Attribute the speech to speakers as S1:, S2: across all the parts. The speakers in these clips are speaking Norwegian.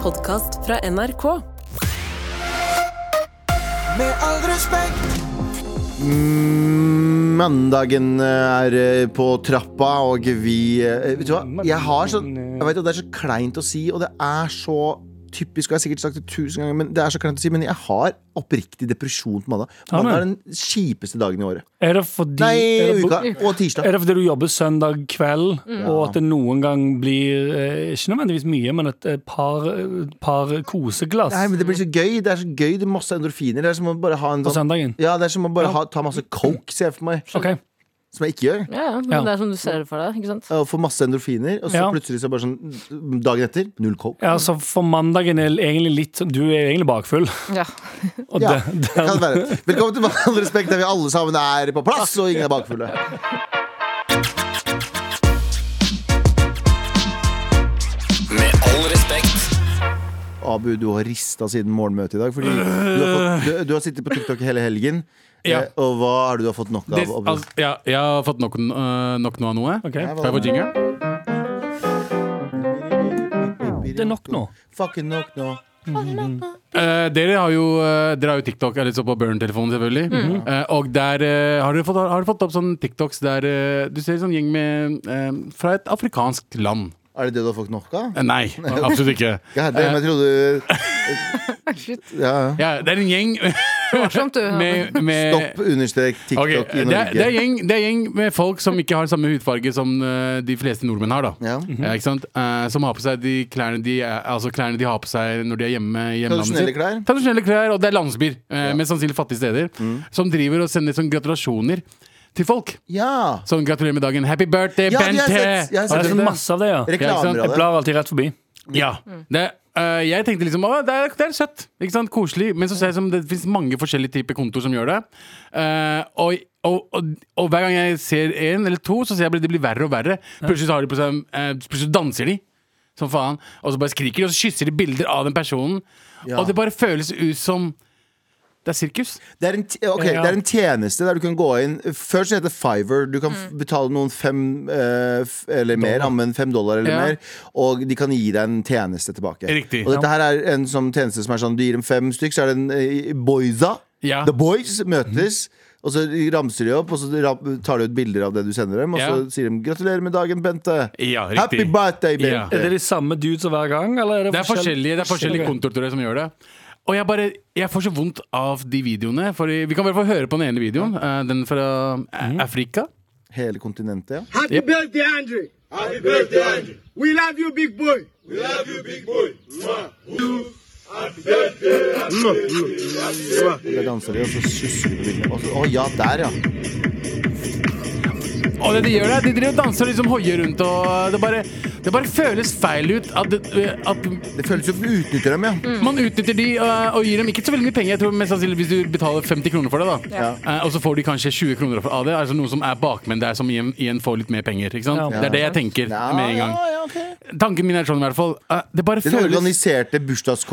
S1: podkast fra NRK.
S2: Med all respekt,
S3: Mandagen er eh, på trappa, og vi eh, Vet du hva? Jeg har sånn
S4: eh.
S3: Jeg vet at det er så kleint å si, og det er så typisk, og jeg har sikkert sagt det tusen ganger, men det er så kleint å si, men jeg har oppriktig depresjon på mandag.
S4: Har du?
S3: Mandag er den kjipeste dagen i året.
S4: Er det fordi
S3: Nei,
S4: er det,
S3: uka. Og tirsdag.
S4: er det fordi du jobber søndag kveld, og at det noen gang blir eh, Ikke nødvendigvis mye, men et, eh, par, par koseglass
S3: Nei, men det blir så gøy. Det er så gøy. Det er masse endorfiner. Det er som å bare ha en
S4: på
S3: sånn
S4: søndagen.
S3: ja, det er som å bare ha, ta masse coke, ser jeg for meg.
S4: Ok,
S3: Som jeg ikke gjør.
S5: Ja, ja, men
S4: Ja.
S5: Det er som du ser det for deg. ikke sant?
S3: Og få masse endorfiner, og så
S4: Ja.
S3: plutselig så bare sånn Dagen etter, null coke.
S4: ja, så For mandagen er egentlig litt sånn- Du er egentlig bakfull.
S5: Ja.
S4: Og
S3: Ja,
S4: det,
S3: det kan det være. Velkommen til Med all respekt, der vi alle sammen er på plass, og ingen er bakfulle.
S2: med all respekt,
S3: Abu, du har rista siden morgenmøtet i dag. Fordi du har, fått, du, du har sittet på TikTok hele helgen.
S6: Øh. Ja.
S3: eh, Og hva er det du har fått nok av?
S6: Det,
S3: Abu?
S6: altså, ja, jeg har fått nok, øh, nok nå av noe.
S4: Ok.
S3: Nei, hva-
S6: Kan jeg få jingle?
S4: det er nok nå.
S3: Fucking nok nå.
S6: Eh, dere, har jo, eh, dere har jo TikTok eller så på Burn-telefonen, selvfølgelig. Eh, og der eh, har, dere fått, har dere fått opp sånne TikToks der eh, du ser en sånn gjeng med, eh, fra et afrikansk land.
S3: Er det det du har fått nok av?
S6: Eh, nei, absolutt ikke.
S3: Jeg hadde men jeg trodde
S5: Slutt.
S3: ja.
S6: Ja, det er en gjeng
S5: Morsomt, du.
S6: med, med
S3: Stopp understrek TikTok
S6: Eh, Ok,
S3: i
S6: det, er, det, er
S3: Norge.
S6: gjeng, det er gjeng med folk som ikke har samme hudfarge som eh, de fleste nordmenn har. da
S3: Ja.
S6: Eh, ikke sant? Eh, som har på seg de klærne de, er- altså klærne de har på seg når de er hjemme i hjemlandet sitt.
S3: Tradisjonelle klær. Mhm.
S6: Tradisjonelle klær, og det er landsbyer, eh, mest sannsynlig fattige steder, som driver og sender sånn gratulasjoner til folk.
S3: Ja.
S6: Sånn gratulerer med dagen. Happy birthday,
S3: Ja, de har jeg
S6: Bente!
S3: sett. Jeg har
S4: Og det er
S3: sett
S4: sånn
S3: det.
S4: masse av det, ja.
S6: Ja,
S3: Reklamer
S6: ikke sant?
S3: av
S4: Jeg
S3: det.
S4: blar alltid rett forbi.
S6: Ja, det, eh, jeg tenkte liksom Å, det er, det er søtt, ikke sant, koselig Men så ser jeg som det finnes mange forskjellige typer kontor som gjør det Eh, og, og, og, og hver gang jeg ser en eller to Så ser jeg bare det blir verre og verre Plutselig, så har de på seg, eh, plutselig danser de Som faen Og så bare skriker de Og så kysser de bilder av den personen
S3: Ja.
S6: Og det bare føles ut som Det er sirkus
S3: Det er, en, t- ok,
S4: Ja.
S3: det er en tjeneste der du kan gå inn Før så het det Fiver. Du kan
S6: Mm.
S3: f- betale noen fem eh, f- eller mer, ja, men fem dollar eller
S6: Ja.
S3: mer, og de kan gi deg en tjeneste tilbake.
S6: Riktig.
S3: Og dette her er en sånn tjeneste som er sånn du gir dem fem stykk, så er det en eh, boysa.
S6: Ja. Mm.
S3: The boys møtes. Og så ramser de opp, og så ra- tar de ut bilder av det du sender dem. Og
S6: Ja.
S3: så sier de 'gratulerer med dagen, Bente'.
S6: Ja, riktig.
S3: Happy birthday,
S6: Ja.
S3: Bente.
S4: Er det de samme dudesa hver gang? Eller er det,
S6: Det er forskjellige, det er forskjellige kontor tror jeg, som gjør det. Og jeg, bare, jeg får så vondt av de videoene. For vi kan bare få høre på den ene videoen. eh, Den fra eh, Afrika.
S3: Hele kontinentet, ja.
S7: Happy birthday, Andre. Happy birthday, Andre. We love you, big boy. We love you, big boy.
S3: Der danser de, og så kysser de. bildene. Og så- Å ja, der, ja.
S6: Og det de gjør der, de driver og danser og liksom hoier rundt. Og det bare, det bare føles feil ut at, det- at
S3: Det føles som du utnytter dem, ja.
S6: man utnytter de eh, og gir dem ikke så veldig mye penger. Jeg tror mest sannsynlig Hvis du betaler 50 kroner for det, da. Eh, Og så får de kanskje 20 kroner av det. Altså noen som er bakmenn der, som igjen, igjen får litt mer penger. Ikke sant?
S4: Ja.
S6: Det er det jeg tenker
S3: Ja,
S6: med en gang.
S3: ja, ja, ok.
S6: Tanken min er sånn i hvert fall. Eh, Det bare
S3: Den
S6: føles
S3: organiserte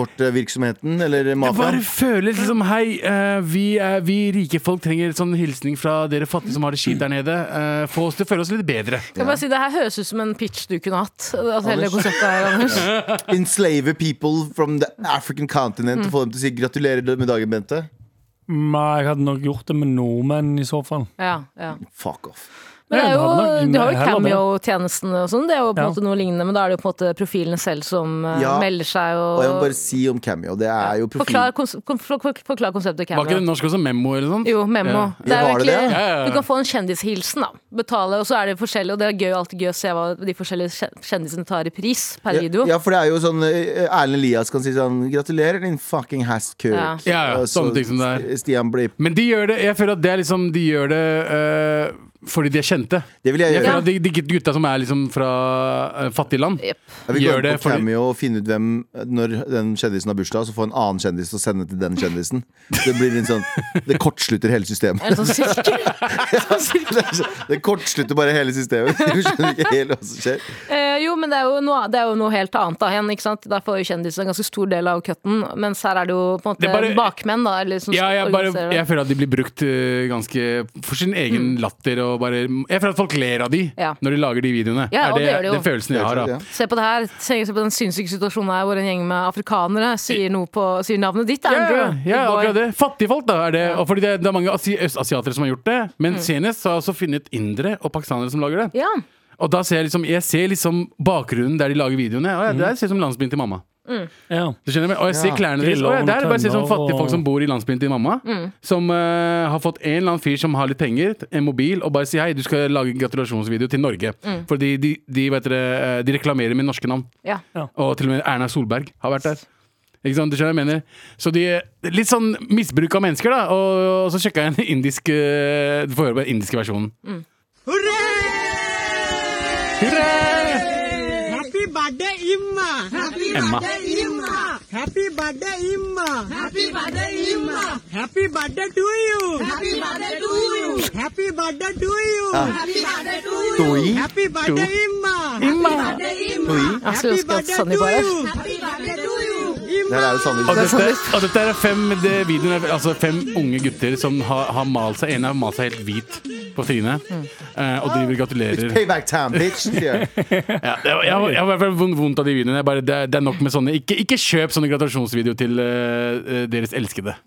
S3: bursdagskortvirksomheten, eller
S6: Jeg bare
S3: mafiaen.
S6: føler liksom Hei, eh, vi, er- vi rike folk trenger sånn hilsning fra dere fattige som har det kjipt der nede. Eh, få oss til å føle oss litt bedre.
S5: Kan jeg bare si, Det her høres ut som en pitch du kunne hatt. Altså, hele det konseptet her, Anders.
S3: Enslave people from the African continent og få dem til å si 'gratulerer med dagen, Bente'.
S4: Nei, jeg hadde nok gjort det med nordmenn i så fall.
S5: Ja, ja.
S3: Fuck off.
S5: Men det
S4: Ja,
S5: er
S4: du
S5: jo,
S4: hadde nok-
S5: du har jo
S4: heller det.
S5: cameo-tjenestene og sånn. Det er jo på en
S4: Ja.
S5: måte noe lignende, men da er det jo på en måte profilene selv som eh,
S3: Ja.
S5: melder seg
S3: Og jeg må
S5: og
S3: bare si om Cameo, det er jo profil
S5: Forklar, kons kon- for- for- forklar konseptet
S6: Var ikke det
S5: cameo.
S6: norsk også? Memo eller sånn? sånt?
S5: Jo, memo.
S6: Ja.
S5: Det er jo
S3: Var det det?
S5: egentlig-
S6: Ja, ja, ja.
S5: Du kan få en kjendishilsen, da. Betale, og så er det forskjellig, og det er gøy, alltid gøy å se hva de forskjellige kjen- kjendisene tar i pris per video.
S3: Ja, for det er jo sånn eh, Erlend Elias kan si sånn 'Gratulerer, din fucking hast cook'.
S5: Ja.
S6: Ja, ja,
S3: Og så
S6: sånne ting som det
S3: S- Stian Blipp.
S6: Men de gjør det Jeg føler at det er liksom De gjør det eh, fordi de er kjente.
S3: Det vil jeg
S6: Jeg
S3: gjøre.
S6: føler at de, de gutta som er liksom fra eh, fattige land,
S5: Jep.
S3: Jeg vil gå
S6: gjør det
S3: inn på
S6: fordi
S3: Cameo og finne ut hvem Når den kjendisen har bursdag, så få en annen kjendis og sende til den kjendisen. Det blir en sånn Det kortslutter hele systemet.
S5: Er det sånn sirkel?
S3: Det, er så- det kortslutter bare hele systemet. Du skjønner ikke helt hva som skjer.
S5: Eh, Eh, jo, men det er jo, noe, det er jo noe helt annet da igjen, ikke sant? Der får jo kjendiser en ganske stor del av cutten, mens her er det jo på en
S6: Det
S5: måte
S6: er bare-
S5: bakmenn, da. Eller, som
S6: Ja, jeg, bare,
S5: organiserer det. Mm.
S6: jeg føler at de blir brukt eh, ganske for sin egen latter. Og bare, jeg føler at folk ler av de
S5: Ja.
S6: når de lager de videoene.
S5: Ja, og
S6: er det,
S5: det gjør de jo.
S6: den følelsen jeg har.
S3: Ja.
S6: Da.
S5: Se på det her, se se på den sinnssyke situasjonen her hvor en gjeng med afrikanere sier, noe på, sier navnet ditt,
S6: Ja,
S5: Andrew. Good
S6: ja,
S5: boy.
S6: akkurat det. Fattigfolk, da. Er det, og fordi det, det er mange asi østasiatere som har gjort det. Men senest har jeg også funnet indere og pakistanere som lager det.
S5: Mm. Ja.
S6: Og da ser jeg liksom, jeg ser liksom bakgrunnen der de lager videoene.
S5: Mm.
S6: Og ja, det der ser ut som landsbyen til mamma.
S4: Ja.
S6: Du skjønner meg? Og jeg ser
S3: Ja.
S6: klærne deres.
S4: Griller
S6: Og jeg,
S4: og
S6: der er det bare å se
S4: tønner
S6: sånn fattige
S4: og-
S6: folk som bor i landsbyen til mamma. Som eh, har fått en eller annen fyr som har litt penger, en mobil, og bare si hei, du skal lage en gratulasjonsvideo til Norge. Fordi de, de, vet dere, eh, de reklamerer med norske navn.
S5: ja.
S6: Og til og med Erna Solberg har vært der. Ikke sant, du skjønner hva jeg mener Så de Litt sånn misbruk av mennesker, da. Og, og så sjekka jeg den indiske Du får høre på den indiske versjonen. Hurra!
S1: Happy birthday, Imma! Happy
S6: Emma.
S1: birthday, Imma! Happy birthday, Imma! Happy birthday, Imma! Happy birthday to you! Happy birthday to you! Happy birthday to you! Happy birthday to you!
S3: Doi.
S1: Happy birthday, Imma!
S3: Doi.
S5: Jeg skulle ønske at Sandeep var her.
S1: Happy birthday to you!
S3: Det her er jo
S6: Og
S3: Sandeep.
S6: dette, og dette er sånn- fem det videoen er, Altså fem unge gutter som har, har malt seg En har malt seg helt hvit på trynet eh, Og driver og gratulerer ja,
S3: sånn Payback time, bitch! sier jeg.
S6: det- Jeg har jeg har i hvert fall vond- vondt av de videoene Jeg bare, det, er, det er nok med sånne Ikke, ikke kjøp sånne gratulasjonsvideoer til eh, deres elskede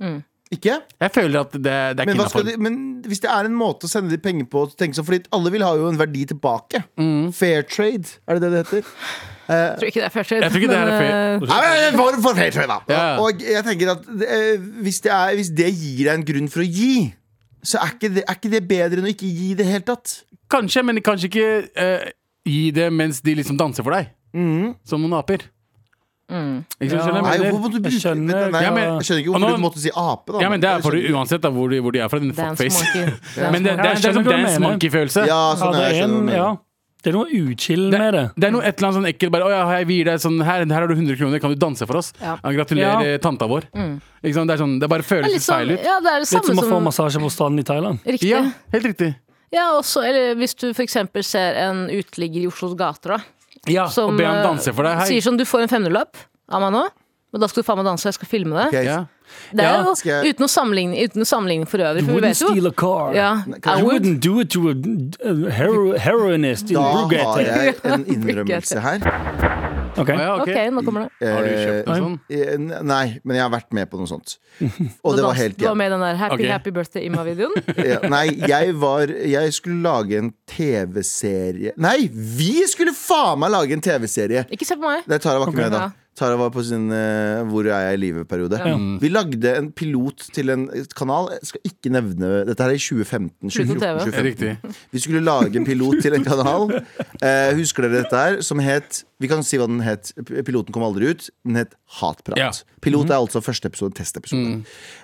S3: Ikke?
S6: Jeg føler at det, det er
S3: Men,
S6: ikke
S3: hva skal
S6: innenfor
S3: de, men hvis det er en måte å sende de penger på tenk så, Fordi alle vil ha jo en verdi tilbake. Fair trade, er det det det heter?
S5: Jeg tror ikke det er fair trade.
S6: Jeg tror ikke det her er
S5: eh,
S6: fair.
S3: Ja, men en form for fair trade, da.
S6: Ja.
S3: Og jeg tenker at eh, hvis, det er, hvis det gir deg en grunn for å gi, så er ikke det, er ikke det bedre enn å ikke gi i det hele tatt.
S6: Kanskje, men kanskje ikke eh, Gi det mens de liksom danser for deg Som noen aper
S5: Mm.
S6: Ikke sant,
S4: Ja.
S6: skjønner du hva
S3: Mm. Nei,
S6: jeg
S3: hvorfor
S6: mener?
S3: måtte du
S4: jeg
S3: bruke
S4: skjønner-
S3: Nei,
S6: Ja, men-
S3: Jeg skjønner ikke
S6: Og
S3: hvorfor
S6: nå-
S3: du måtte si ape, da.
S6: Ja, men det er
S3: Jeg
S6: for
S3: skjønner
S6: du uansett da, hvor, de, hvor de er fra Din
S5: Dance
S6: fuckface
S5: monkey. Dance
S6: Men det,
S4: Ja,
S6: det,
S4: jeg
S6: er, det er
S4: skjønner hva
S6: sånn
S4: du
S6: dance
S4: mener.
S6: monkey-følelse.
S3: Ja,
S4: Ja,
S3: sånn
S4: det,
S3: er, jeg
S4: er en,
S3: skjønner.
S4: ja. det er noe uchill med det.
S6: Det er noe et eller annet sånn ekkelt bare, «Å ja, jeg gir deg sånn, her, her har du 100 kroner, kan du danse for oss?
S5: Ja.
S6: Ja, gratulerer
S4: Ja.
S6: tanta vår. Ikke sant? Det, er sånn, det bare
S5: Det er
S6: føles
S5: litt sånn,
S6: feil ut.
S5: ja, det er det
S4: Litt
S5: samme
S4: som å få
S5: som
S4: massasje på stranden i Thailand.
S5: Riktig.
S6: Ja,
S5: Ja.
S6: helt riktig.
S5: også, eller hvis du for eksempel ser en uteligger i Oslos gater, da.
S6: Ja,
S5: Som
S6: og be han
S5: eh,
S6: danse for deg. Hei.
S5: sier sånn Du får en femmerlapp av meg nå, men da skal du faen meg danse, og jeg skal filme det.
S3: Ok,
S6: Ja.
S5: Det er
S6: Ja,
S5: jo
S3: skal jeg-
S5: uten å sammenligne, uten å sammenligne for øvrig,
S4: You
S5: for vi
S4: wouldn't
S5: vet jo
S4: steal a car.
S5: ja, I
S4: You
S5: would.
S4: wouldn't do it to a a hero, heroinist in
S3: Da har
S4: Brugate.
S3: jeg en innrømmelse her.
S4: Ok.
S6: Å ja, ok.
S5: Ok, nå kommer det.
S6: Har du kjøpt en sånn?
S3: Eh, Nei, men jeg har vært med på noe sånt. Og det var helt
S5: Du var
S3: jævlig.
S5: med i den der Happy
S6: Ok.
S5: Happy Birthday Imma-videoen.
S3: Ja, Nei, jeg var Jeg skulle lage en TV-serie Nei, vi skulle faen meg lage en TV-serie!
S5: Ikke se på meg.
S3: Nei, Tara var ikke med da.
S5: Ja.
S3: Tara var på sin eh, 'Hvor er jeg i livet?'-periode. Vi lagde en pilot til en kanal. Jeg skal ikke nevne Dette her er i 2015.
S5: Pluto
S3: 2014,
S5: TV.
S6: Riktig.
S3: 2015. Vi skulle lage en pilot til en kanal. Eh, husker dere dette her? Som het Vi kan si hva den het. Piloten kom aldri ut. Den het Hatprat.
S6: Ja. Mhm. Mm.
S3: Pilot er altså første episode, testepisode.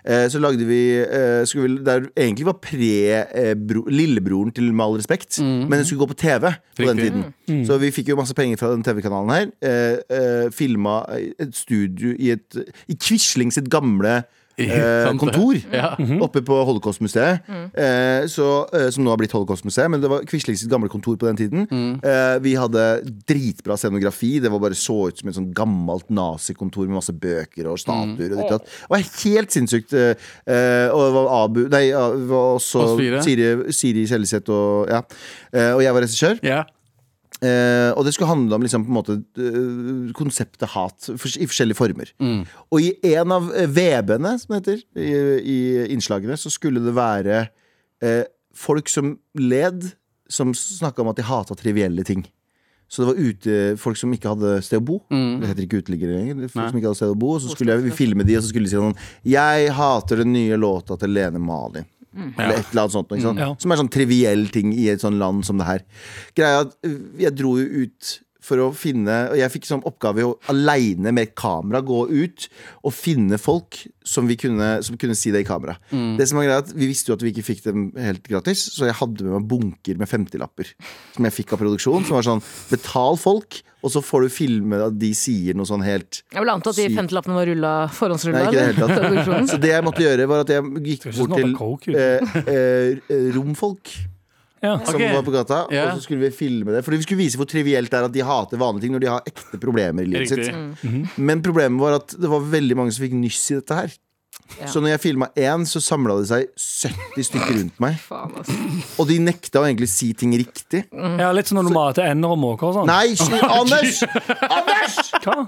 S3: Eh, så lagde vi, eh, skulle vi Der egentlig var pre-lillebroren til Med all respekt, men den skulle gå på TV på den
S6: Mhm. Riktig. Mm.
S3: tiden. Så vi fikk jo masse penger fra den TV-kanalen her. Eh, eh, filma et studio i, et, i Quisling sitt gamle eh,
S6: Sant det.
S3: kontor
S6: Ja.
S3: oppe på Holocaustmuseet, eh, så, eh, som nå har blitt Holocaustmuseet. Men det var Quisling sitt gamle kontor på den tiden. Eh, vi hadde dritbra scenografi. Det var bare så ut som et sånn gammelt nazikontor med masse bøker og statuer. Og ditt og datt. det var helt sinnssykt. Eh, eh, og det var Abu Nei, ja, det var
S6: Oss
S3: også
S6: fire.
S3: Siri, Siri Kjelliseth og Ja. Eh, og jeg var regissør.
S6: Ja.
S3: Eh, og det skulle handle om liksom, på en måte, eh, konseptet hat fors- i forskjellige former. Og i en av eh, VB-ene, som det heter, i, i innslagene, så skulle det være eh, folk som led, som snakka om at de hata trivielle ting. Så det var ute, folk som ikke hadde sted å bo. Det heter ikke uteliggere lenger. det er Folk
S6: Nei.
S3: som ikke hadde sted å bo Og så skulle jeg filme de, og så skulle de si sånn Jeg hater den nye låta til Lene Malin. Eller et eller annet sånt. Ikke sant?
S4: Ja.
S3: Som er sånn triviell ting i et sånn land som det her. Greia er at øh, jeg dro jo ut for å finne Og jeg fikk som oppgave å aleine med kamera gå ut og finne folk som, vi kunne, som kunne si det i kamera. Det som var greia er at Vi visste jo at vi ikke fikk dem helt gratis, så jeg hadde med meg bunker med 50-lapper som jeg fikk av produksjonen, som var sånn Betal folk, og så får du filme at de sier noe sånn helt
S5: Jeg vil anta at de
S3: Sykt.
S5: femtelappene var rulla forhåndsrulla.
S3: Nei, ikke det
S5: eller?
S3: hele tatt.
S5: Produksjonen.
S3: Så det jeg måtte gjøre, var at jeg gikk
S4: Høres ut som
S3: bort
S4: noe
S3: til
S4: coke, ut.
S3: eh, eh, romfolk.
S4: Ja.
S3: Som
S6: Ok.
S3: var på gata,
S6: Ja.
S3: og så skulle vi filme det. Fordi vi skulle vise hvor trivielt det er at de hater vanlige ting når de har ekte problemer i livet
S6: Riktig. Mhm.
S3: sitt. Men problemet var at det var veldig mange som fikk nyss i dette her. Så når jeg filma én, så samla det seg 70 stykker rundt meg.
S5: Faen, altså.
S3: Og de nekta å egentlig si ting riktig.
S4: ja, Litt som når du mater ender og måker og sånn.
S3: Nei, sli- Anders! Anders!
S4: Hva?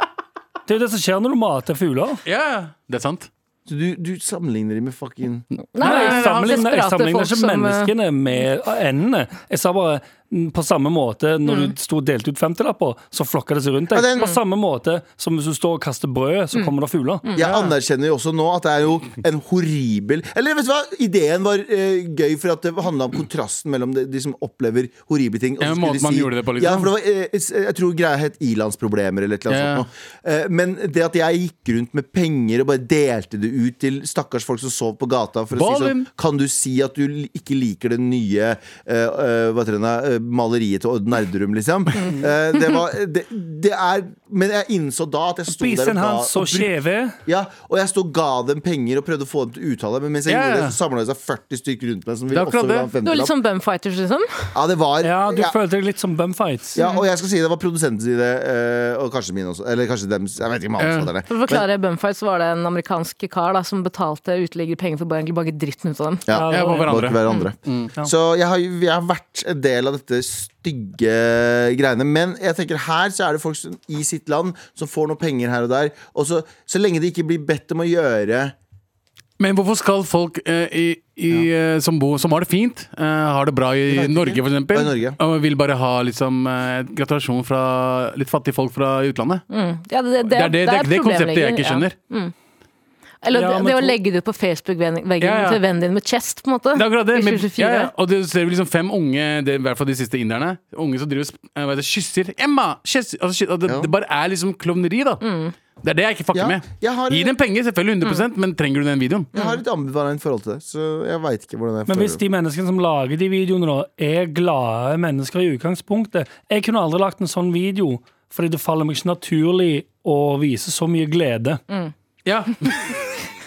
S4: Det er jo det som skjer når du mater fugler.
S6: Ja, det er sant.
S3: Så Du, du sammenligner de med fucking
S5: Nei,
S4: Nei,
S5: det
S4: jeg
S5: er
S4: sammenligner, jeg
S5: desperate
S4: sammenligner
S5: folk
S4: ikke
S5: som, eh,
S4: menneskene med endene. Jeg sa bare mm, på samme måte når
S5: Mm.
S4: du sto og delte ut femtilapper, så flokka det seg rundt deg.
S3: Ja, den-
S4: På samme måte som hvis du står og kaster brød,
S5: Mm.
S4: så kommer det fugler.
S6: Mm.
S3: Jeg anerkjenner jo også nå at det er jo en horribel Eller vet du hva, ideen var eh, gøy for at det handla om kontrasten mellom de, de som opplever horrible ting. og så
S6: Ja, men
S3: skulle
S6: måten
S3: de
S6: man gjorde det på, liksom.
S3: Ja, for det var, eh, s- jeg tror greia het ilandsproblemer eller et eller
S6: Ja.
S3: annet sånt. noe. Eh, men det at jeg gikk rundt med penger og bare delte det ut til stakkars folk som sov på gata for å si sånn
S6: Ballin.
S3: Kan du si at du li- ikke liker det nye eh, eh, hva heter det, eh, maleriet til Odd Nerdrum, liksom? Eh, det var det, det er Men jeg innså da at jeg sto der og
S4: Spisen
S3: ga
S4: hans så
S3: og brukte-
S4: skjeve.
S3: ja, og jeg stod og ga dem penger og prøvde å få dem til å uttale det, men mens jeg
S6: Ja, ja.
S3: gjorde det, så samla det seg 40 stykker rundt meg som
S6: Det
S3: ville
S6: er akkurat
S3: også ha en
S5: Du er litt
S3: femtilapp.
S5: sånn bumfighters, liksom.
S3: Ja, det var
S4: Ja, du
S3: ja,
S4: følte deg litt som bumfights.
S3: ja, og jeg skal si det var produsenten sin idé, eh, og kanskje min også. Eller kanskje dems. Jeg vet ikke om hans var det.
S5: For å forklare bumfights var det en amerikansk kar da, som betalte uteligger penger for bare, egentlig bare dritten ut av dem.
S3: Ja,
S6: Jeg er på
S3: Bak
S6: hverandre.
S3: hverandre.
S4: Mm, Ja.
S3: Så jeg har, jeg har vært en del av dette stygge greiene. Men jeg tenker her så er det folk som, i sitt land som får noe penger her og der. Og så, så lenge de ikke blir bedt om å gjøre
S6: Men hvorfor skal folk eh, i, i, eh, som, bor, som har det fint, eh, har det bra i
S3: Frankrike.
S6: Norge f.eks.,
S3: Ja, i Norge.
S6: og vil bare ha liksom, eh, gratulasjon fra litt fattige folk fra utlandet?
S5: Ja, det,
S6: Det er det, det, er det konseptet jeg
S5: problemlegger,
S6: ikke skjønner.
S5: Ja. Eller
S4: Ja,
S5: det,
S4: men
S5: det å
S4: to-
S5: legge det ut på Facebook-veggen
S6: Ja, ja.
S5: til vennen din med chest, på en måte.
S6: Det er akkurat det.
S5: I
S6: Men,
S5: 2024.
S6: ja, ja. Og du ser liksom fem unge, det, er i hvert fall de siste inderne, unge som driver og sp- eh, hva heter det, kysser Emma! Kyss! Altså, kyss- og det,
S3: Ja.
S6: det bare er liksom klovneri, da.
S5: Mm.
S6: Det er det jeg ikke fucker
S3: Ja, jeg har-
S6: med. Gi dem penger, selvfølgelig 100 men trenger du den videoen?
S3: Jeg har et ambivalent forhold til det, så jeg veit ikke hvordan jeg
S4: Mm. Men hvis
S3: føler
S4: de menneskene som lager de videoene, da, er glade mennesker i utgangspunktet Jeg kunne aldri lagt en sånn video, fordi det faller meg ikke naturlig å vise så mye glede.
S6: Ja.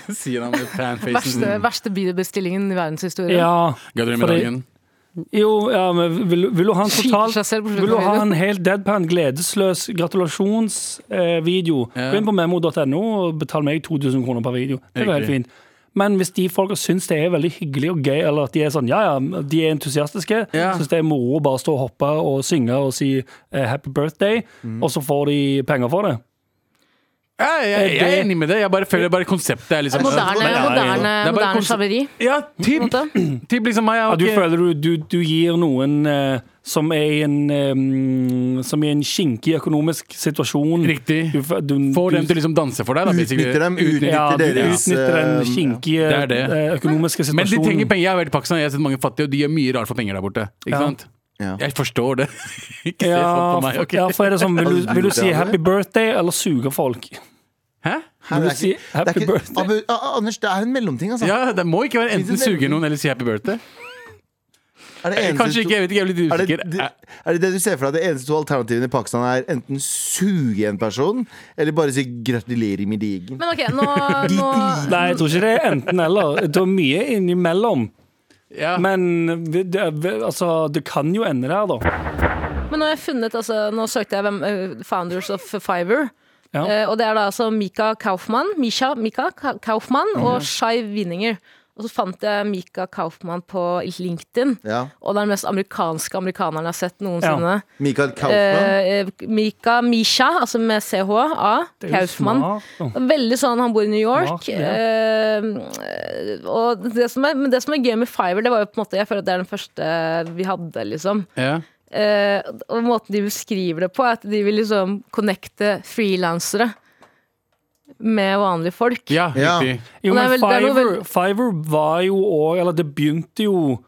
S6: Sier han med fanfacen.
S5: Verste, verste bilbestillingen i verdenshistorien.
S4: Ja,
S6: Gratulerer
S4: Jo, ja, men vil, vil du ha en
S5: Skyter
S4: total
S5: seg selv på slutten
S4: Vil du
S5: av
S4: ha
S5: videoen.
S4: en helt deadpan, gledesløs gratulasjonsvideo eh, video,
S6: Ja.
S4: Gå inn på memo.no og betal meg 2000 kroner per video Det går helt
S6: Riktig.
S4: fint men hvis de folka syns det er veldig hyggelig og gøy, eller at de er sånn, ja, ja, de er entusiastiske,
S6: Ja.
S4: syns det er moro å bare stå og hoppe og synge og si eh, 'happy birthday', og så får de penger for det
S6: Jeg, jeg, jeg er enig med det. Jeg bare føler bare konseptet er liksom
S5: Moderne,
S6: Det er-
S5: moderne,
S6: det er bare
S5: moderne
S6: konsept-
S5: slaveri.
S6: Ja,
S5: på en
S6: typ.
S5: måte.
S6: Typ liksom meg.
S4: Ja,
S6: Jeg,
S4: du
S6: okay.
S4: føler du, du, du gir noen eh, som er i en eh, Som er i en skinkig økonomisk situasjon.
S6: Riktig.
S4: Du, fø- du,
S6: Får
S4: du-
S6: dem til å liksom danse for deg. Da, basically.
S3: Utnytter dem,
S6: Utnytter-
S3: utnytter-
S4: ja, du
S3: deres,
S4: utnytter
S3: eh,
S4: den skinkige
S6: ja. Det er det.
S4: eh, økonomiske
S6: Men de
S4: situasjonen.
S6: trenger penger. Jeg har vært i Pakistan, jeg har sett mange fattige, og de gjør mye rart for penger der borte. Ikke
S4: Ja.
S6: sant?
S3: Ja.
S6: Jeg forstår det. ikke se sånn
S4: Ja,
S6: på meg.
S4: for,
S6: ok?
S4: ja, for er det sånn, vil du, vil du si
S3: Ja.
S4: 'happy birthday' eller suge folk?
S6: Hæ?
S3: Her, det
S4: Vil du
S3: er
S4: si
S3: ikke- det er
S4: 'happy
S3: ikke-
S4: birthday'?
S3: Abu- A- Anders, det er en mellomting, altså.
S6: Ja, det må ikke være enten
S3: Finnes det-
S6: suge noen eller si happy birthday.
S3: Er det eneste
S6: Kanskje
S3: to-
S6: ikke, jeg vet ikke, jeg er litt
S3: Er det,
S6: usikker.
S3: det, er det det du ser for deg? Det eneste to alternativene i Pakistan er enten suge en person, eller bare si 'gratulerer med digen'.
S5: Men ok, nå, nå
S4: Nei, jeg tror ikke det er enten-eller. Det er mye innimellom.
S6: Ja.
S4: Men vi- det, vi- altså, det kan jo ende der, da.
S5: Men nå har jeg funnet, altså, nå søkte jeg hvem, eh, Founders of Fiverr.
S4: Ja.
S5: Eh, og det er da altså Mika Kaufmann, Misha, Mika Ka- Kaufmann
S6: Mm.
S5: og Shai Winninger. Og så fant jeg Mika Kaufmann på LinkedIn.
S3: Ja.
S5: Og det er den mest amerikanske amerikaneren jeg har sett noensinne.
S3: Michael Kaufmann.
S5: Eh, eh, Mika Misha, altså med CH-A,
S4: Det er jo
S5: Kaufmann.
S4: smart, da.
S5: Veldig sånn, Han bor i New York.
S4: Smart, ja.
S5: eh, og det som, er, men det som er gøy med Fiverr, det var jo på en måte Jeg føler at det er den første vi hadde, liksom.
S6: Ja.
S5: Eh, og måten de beskriver det på, er at de vil liksom connecte frilansere med vanlige folk.
S6: ja,
S3: Ja.
S6: riktig.
S4: Jo,
S5: Og det er
S4: men
S5: vel- det er noe
S4: Fiverr
S5: vel-
S4: Fiverr var jo òg Eller det begynte jo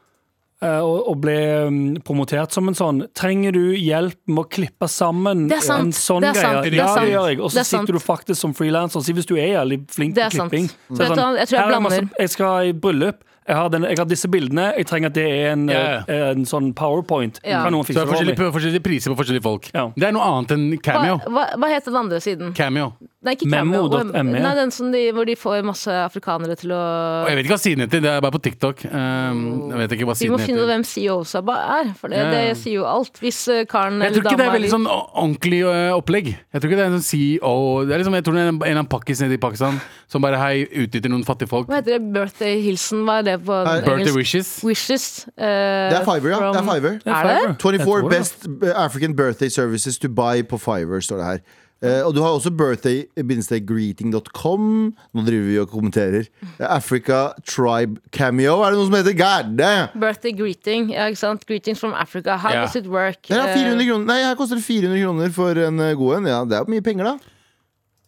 S4: eh, å, å bli mm, promotert som en sånn Trenger du hjelp med å klippe sammen
S5: Det er sant,
S4: en sånn
S5: det er sant,
S4: greie?
S6: det er
S4: Ja,
S6: sant,
S4: det gjør jeg. Og
S5: det er
S4: så
S5: sant.
S4: sitter du faktisk som frilanser. Hvis du er jævlig flink til
S5: Det er sant.
S4: klipping
S5: Mm.
S4: så er det sånn,
S5: Vet du hva, jeg tror jeg
S4: her er det
S5: blander.
S4: masse- Jeg skal i bryllup. Jeg har, den, jeg har disse bildene. Jeg trenger at det er en,
S6: Ja,
S4: eh, en sånn powerpoint.
S5: Ja.
S4: Kan noen
S6: Så det
S4: fikse
S6: er
S4: det for meg?
S6: forskjellige, forskjellige priser på forskjellige folk.
S4: Ja.
S6: Det er noe annet enn
S5: Hva,
S6: cameo.
S5: hva, hva heter den andre siden?
S6: Cameo.
S5: Nei, ikke
S4: Memo.me.
S5: Cameo. Nei, den som de, hvor de får masse afrikanere til å
S6: Og jeg vet ikke hva siden heter, det er bare på TikTok. Um, jeg vet ikke hva
S5: Vi må
S6: siden
S5: finne ut
S6: heter.
S5: hvem CEO Saba er, for det,
S6: Ja, ja.
S5: det sier jo alt. Hvis eh, karen
S6: Jeg tror
S5: eller
S6: ikke det
S5: dama
S6: er veldig
S5: di-
S6: sånn o- ordentlig øh, opplegg. Jeg tror ikke det er en sånn CEO det er liksom, Jeg tror det er en en eller annen pakkis nede i Pakistan som bare hei, utnytter noen fattige folk.
S5: Hva heter det? Birthday hilsen? Hva er det på
S3: Nei.
S6: Birthday
S5: engelsk?
S6: wishes.
S5: Wishes. eh,
S3: Det er Fiverr, ja. Det er Fiverr.
S5: Er det?
S4: Fiverr. Jeg
S3: 24
S4: tror det.
S3: best African birthday services to buy på Fiverr, står det her. Eh, og du har også birthday-greeting.com. Nå driver vi og kommenterer. Africa Tribe Cameo. Er det noe som heter Gærne?
S5: Birthday greeting, ja, ikke sant? Greetings from Africa. How
S6: Ja.
S5: does it work?
S3: Her, er
S5: Eh,
S3: 400 kroner. Nei, her koster det 400 kroner for en eh, god en. Ja, det er jo mye penger, da.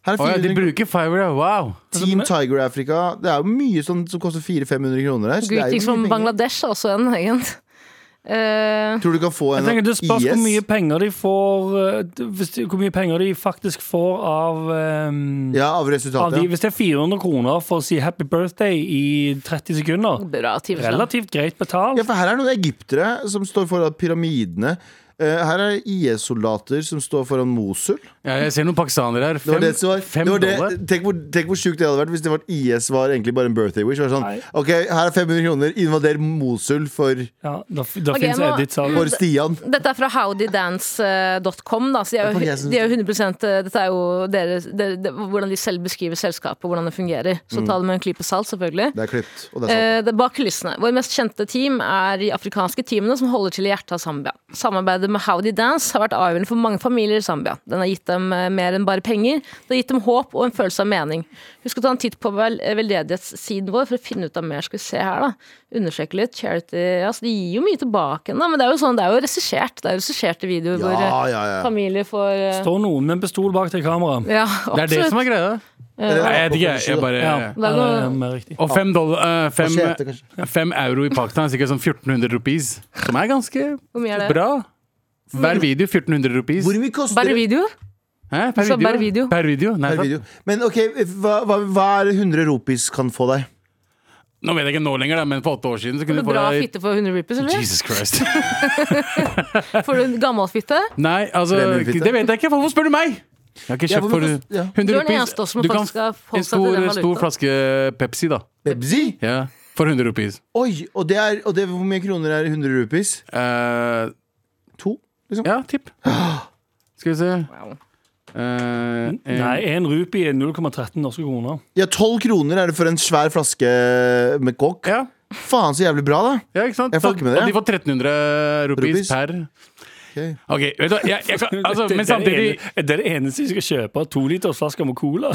S3: Her er
S6: Å ja, de
S3: 400 kroner.
S6: bruker Fiverr, ja. Wow.
S3: Team Tiger Africa. Det er jo mye sånn som koster 400-500 kroner her. så det er jo
S5: Greetings
S3: mye
S5: from
S3: penger.
S5: Bangladesh er også en, egentlig. Eh,
S3: Tror du kan få
S4: Jeg
S3: en
S4: tenker Det spørs hvor mye
S3: IS?
S4: penger de får eh, d- hvis de, Hvor mye penger de faktisk får av, eh,
S3: Ja, av
S4: av de,
S3: resultatet.
S4: Hvis det er 400 kroner for å si happy birthday i 30 sekunder,
S5: bra, Tive.
S4: relativt greit betalt.
S3: Ja, for her er noen egyptere som står foran pyramidene. Eh, her er IS-soldater som står foran Mosul.
S6: Ja, jeg ser noen pakistanere her.
S3: Det var
S6: Fem,
S3: det som var,
S6: fem
S3: det var det,
S6: dollar.
S3: tenk, hvor, tenk hvor sjukt det hadde vært hvis det var IS var egentlig bare en birthday wish. Det Var sånn,
S4: Nei.
S3: ok, Her er 500 kroner, invader Mosul for,
S4: Ja, da f- da
S5: Ok,
S4: finnes
S5: nå-
S4: edits av
S3: for Stian.
S5: Dette er fra howdydance.com, da, så
S3: Det
S5: de er
S3: er på
S5: jo,
S3: det jeg synes.
S5: de er jo 100 eh, Dette er jo deres, dere- de- hvordan de selv beskriver selskapet, hvordan det fungerer. Så
S3: Mm.
S5: ta det med en klype salt, selvfølgelig.
S3: Det er klipt. Og det er sant.
S5: Eh, det er bak kulissene. Våre mest kjente team er de afrikanske teamene som holder til i hjertet av Zambia. Samarbeidet med Howdy Dance har vært avgjørende for mange familier i Zambia. Den har gitt dem eh, mer enn bare penger, det har gitt dem håp og en følelse av mening. Husk å ta en titt på vel eh, veldedighetssiden vår for å finne ut av mer. Skal vi se her, da. Undersøke litt. Charity altså, De gir jo mye tilbake, da, men det er jo sånn, det er jo regissert. Det er jo regisserte videoer hvor
S3: ja,
S5: eh,
S3: ja, ja.
S5: familier får eh,
S4: Står noen med en pistol bak det kameraet.
S5: Ja,
S6: Det er det
S5: absolutt.
S6: som er greia. Nei, jeg vet ikke, jeg, jeg bare
S4: Ja, det er mer riktig.
S6: Og fem, dollar, eh, fem,
S3: Hva skjer etter,
S6: fem euro i Pakistan er sikkert sånn 1400 rupees. Som er ganske
S5: Hvor mye er det?
S6: bra.
S5: Mm.
S6: Hver video 1400 rupees.
S3: Hvor mye koster
S5: Bare
S3: det?
S5: video?
S6: Hæ? Per,
S5: Så
S6: video?
S5: per video?
S6: Per video? Nei,
S3: Per
S6: sant?
S3: video. Men ok, hva, hva, hva er det 100 ropis kan få deg?
S6: Nå vet jeg ikke nå lenger, da, men for åtte år siden
S5: Får
S6: så kunne
S5: du
S6: du få
S5: bra
S6: deg
S5: fitte for 100 rupees, eller?
S6: Jesus Christ.
S5: Får du gammel fitte?
S6: Nei, altså
S3: Premiumfitte.
S6: Det vet jeg ikke. Hvorfor spør du meg? Jeg har ikke
S3: Ja,
S6: kjøpt
S3: hvorfor
S6: for
S3: kost- ja.
S6: 100
S5: Du er den
S6: rupees.
S5: eneste av oss som
S6: Du kan
S5: faktisk skal
S6: En
S5: forholde seg til
S6: stor,
S5: den
S6: stor
S5: valutaen.
S6: flaske Pepsi, da.
S3: Pepsi?
S6: Ja, for 100 rupees.
S3: Oi, og det er, og det, hvor mye kroner er 100 ropis?
S6: Eh,
S3: To? Liksom.
S6: ja, tipp. Skal vi se
S5: Wow.
S6: Eh, en-
S4: Nei, én rupi er 0,13 norske kroner.
S3: Ja, 12 kroner er det for en svær flaske med kokk.
S6: Ja,
S3: Faen, så jævlig bra, da.
S6: ja, ikke sant?
S3: Jeg fucker med det,
S6: Og de
S3: ja.
S6: får 1300 rupees
S3: Rupees.
S6: per.
S3: Ok.
S6: Ok, vet du hva jeg, jeg, kan- altså, Men samtidig
S4: det, er det ene- det er det eneste jeg skal kjøpe. Tolitersflasker med cola.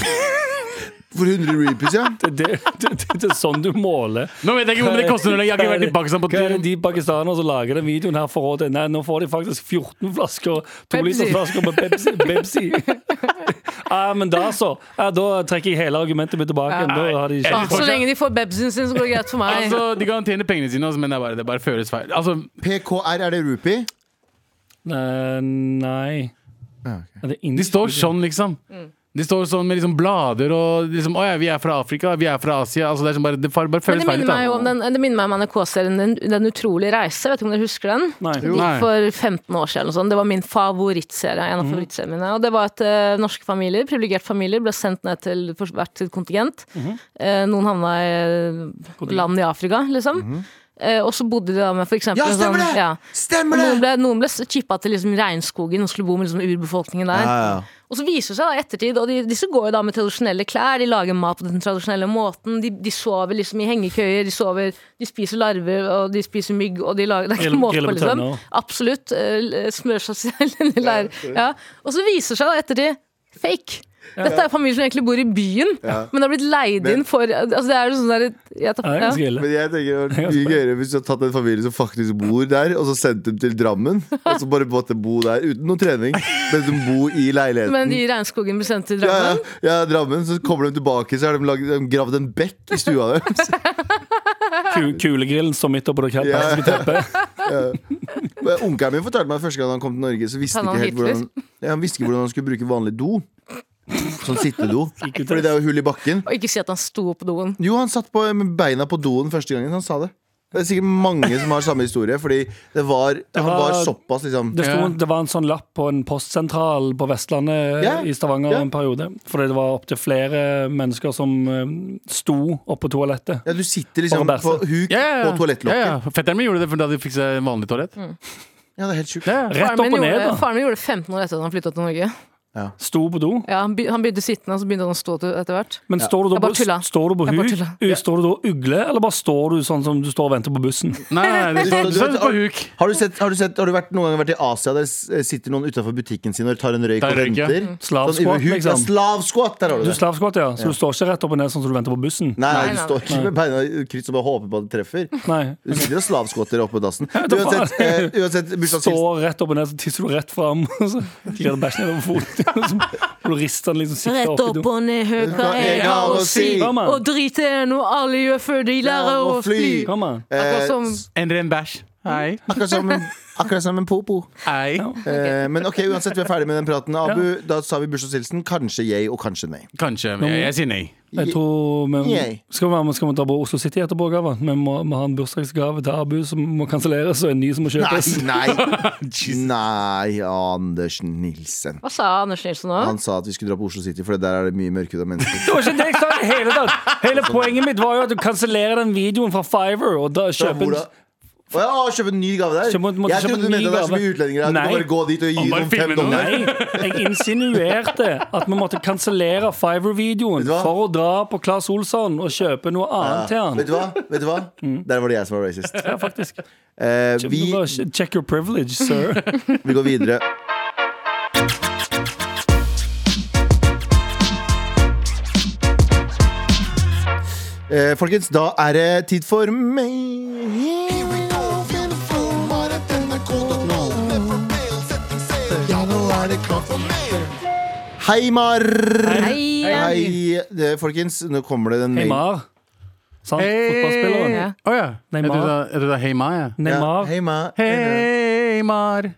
S3: For 100 rupees, ja.
S4: Det, det, det, det, det er sånn du måler.
S6: Nå vet jeg ikke hvor mye det koster. når Jeg jeg har ikke vært i Pakistan på
S4: Hva er det de pakistanere som lager den videoen her for råd? Nei, nå får de faktisk 14 flasker, to
S5: Pepsi.
S4: liter flasker med Pepsi. Pepsi. Ja, men da så. Ja, da trekker jeg hele argumentet mitt tilbake. igjen. Da har de
S6: Ja.
S4: ikke.
S5: Ah, så lenge de får bebsen sin, så går det greit for meg.
S6: Altså, De kan tjene pengene sine, altså, men det, er bare, det bare føles feil. Altså,
S3: PKR, er det rupee?
S4: Eh, Nei. Er det
S6: De står
S4: Mm.
S6: sånn, liksom.
S5: Mm.
S6: De står sånn med liksom blader og liksom Å ja, vi er fra Afrika, vi er fra Asia. Altså, det, er sånn bare, det bare
S5: Men
S6: bare føles
S5: det
S6: feil. liksom.
S5: minner
S6: ut,
S5: meg jo
S6: da.
S5: om den, det minner meg om NRK-serien Den, den utrolige reise. Vet ikke om dere husker den?
S4: Nei.
S5: Den gikk
S6: Nei.
S5: For 15 år siden. eller noe sånt. Det var min favorittserie. En av favorittseriene mine. Og det var at eh, norske familier, privilegerte familier, ble sendt ned til for hvert sitt kontingent. Eh, noen havna i eh, land i Afrika, liksom. Eh, og så bodde de da med for eksempel
S3: Ja,
S5: en
S3: stemmer
S5: sånn-
S3: det!
S5: ja. Og
S3: Stemmer det!
S5: Noen ble, noen ble chippa til liksom regnskogen og skulle bo med liksom urbefolkningen der.
S3: Ja, ja.
S5: Og så viser det seg da i ettertid, og de, disse går jo da med tradisjonelle klær, de lager mat på den tradisjonelle måten, de, de sover liksom i hengekøyer, de sover, de spiser larver, og de spiser mygg, og de lager, det er ikke
S4: Grill-
S5: måte
S4: griller
S5: på,
S4: på
S5: liksom.
S4: tønner.
S5: Absolutt. eh, Smører seg selv inn i leir. Ja. Og så viser det seg da i ettertid, fake. Dette er jo familier som egentlig bor i byen, men har blitt leid inn for altså Det er jo sånn der jeg
S4: Ja,
S5: tar,
S4: det er ganske
S5: ja.
S4: ille.
S3: Men jeg tenker det hadde vært mye gøyere hvis du hadde tatt en familie som faktisk bor der, og så sendt dem til Drammen. Og så bare måtte bo der uten noe trening, men de bor i leiligheten.
S5: Men de i regnskogen blir sendt til
S3: Ja, ja,
S5: Drammen.
S3: ja, Drammen. Så kommer de tilbake, så har de, lagd- de gravd en bekk i stua deres.
S4: Ku- Kulegrillen står midt oppå det
S3: Ja.
S4: klassiske teppet.
S3: Men Onkelen min fortalte meg første gang han kom til Norge, så visste
S5: Han
S3: han ikke
S5: var
S3: helt
S5: Hitler.
S3: hvordan, ja, han visste ikke hvordan han skulle bruke vanlig do. Sånn sittedo. Fordi det er jo hull i bakken.
S5: Og ikke si at han sto på doen.
S3: Jo, han satt på, med beina på doen første gangen. Han sa det. Det er sikkert mange som har samme historie, fordi det var, han
S4: var-
S3: var såpass, liksom.
S4: Det, sto,
S6: Ja.
S4: en- det var en sånn lapp på en postsentral på Vestlandet
S3: Ja,
S4: i Stavanger
S3: ja.
S4: en periode. Fordi det var opptil flere mennesker som eh, sto oppå toalettet.
S3: Ja, du sitter
S4: Og
S3: liksom
S4: bæsje.
S3: på huk
S6: Ja, ja, ja.
S3: på toalettlokket.
S6: Ja,
S3: Ja,
S6: ja. Fetteren min gjorde det fordi de fikk seg en vanlig toalett.
S3: det er helt sjukt.
S6: Ja, ja.
S4: Rett opp og ned, da.
S5: Faren min gjorde det 15 år etter at han flytta til Norge.
S4: Sto på do.
S5: Ja, han, be, han begynte sittende, og så begynte han å stå til- etter hvert.
S4: Men står du da
S5: Jeg bare
S4: på-
S5: tulla.
S4: står du på
S5: Jeg bare
S4: huk?
S5: tulla.
S4: Eh, Står du da og ugler, eller bare står du sånn som du står og venter på bussen?
S6: Nei, nei, nei, du satt sånn på huk.
S3: Har du, sett, har, du sett, har du vært, noen gang vært i Asia der s- eh, sitter noen utenfor butikken sin og tar en røyk
S6: Der
S3: og
S6: røyker jeg. Mm.
S3: venter?
S4: Slavskott,
S3: Sånn over huk.
S4: liksom.
S3: Ja, slavskott, der har du
S4: Du
S3: det.
S4: slavskott, ja. Så du står ikke rett opp og ned sånn som du venter på bussen?
S3: Nei, nei,
S5: Nei,
S3: du
S5: nei,
S3: står ikke med beina i kryss og bare håper på at det treffer.
S4: Nei.
S3: Du sitter og slavskotter oppe på dassen.
S4: vet da
S3: Uansett, eh, uansett bursdagshilsen.
S4: Står rett opp og ned, så tisser du rett fram. Og så glir det bæsj nedover foten. Og så får du riste den liksom sitte
S5: Rett
S4: opp i
S5: opp
S4: do.
S5: og ned, hør hva jeg har å si.
S4: Kom
S5: Og
S4: an,
S5: drit i det noe alle gjør før de lærer å fly.
S4: kom an.
S5: Akkurat
S3: Eh,
S5: som
S6: Endre en bæsj. Hei.
S3: akkurat som en- Akkurat som en popo.
S6: Hei.
S3: Eh, men ok, uansett, vi er ferdig med den praten. Abu, da sa vi bursdagshilsen. Kanskje yay og kanskje nei.
S6: Kanskje. Men jeg, jeg sier nei.
S4: Jeg tror vi,
S3: Yay.
S4: skal, vi, være med- skal vi dra på Oslo City etterpå, Gava? Vi må, vi har en bursdagsgave til Abu som må kanselleres, og en ny som må
S3: Nei,
S4: kjøpes.
S3: nei, nei Anders Nilsen.
S5: Hva sa Anders Nilsen nå?
S3: Han sa at vi skulle dra på Oslo City, for der er det mye mørkhuda mennesker.
S4: Det var ikke det jeg sa i det hele tatt! Hele poenget mitt var jo at du kansellerer den videoen fra Fiver og da
S3: Så
S4: kjøper
S3: hvordan- Å ja, kjøpe en ny gave der?
S4: Kjøpe- måtte
S3: jeg
S4: kjøpe
S3: trodde du
S4: en ny
S3: mente det var så
S4: gave.
S3: mye utlendinger her. Du kan
S4: Nei.
S3: bare gå dit og gi
S6: bare
S3: noen fem
S6: filme noen.
S3: dollar.
S4: Nei, jeg insinuerte at vi måtte kansellere Fiver-videoen
S3: Vet du hva?
S4: for å dra på Claes Olsson og kjøpe noe
S3: Ja.
S4: annet
S3: Vet du
S4: til han.
S3: hva? Vet du hva? Der var det jeg som var racist.
S4: Ja, faktisk.
S3: Eh,
S4: Du
S3: vi,
S4: bare Check your privilege, sir.
S3: vi går videre. Eh, folkens, da er det tid for meg. Heimar!
S5: Hei.
S3: Hei, det, folkens. Nå kommer det en mail.
S4: Neymar. Sant?
S6: Hei.
S4: Fotballspilleren.
S5: Ja.
S6: Å ja. Jeg
S4: Neymar.
S6: trodde jeg trodde det var Heimar. Ja.
S3: Ja,
S4: Neymar.
S3: Heimar.
S6: Heimar.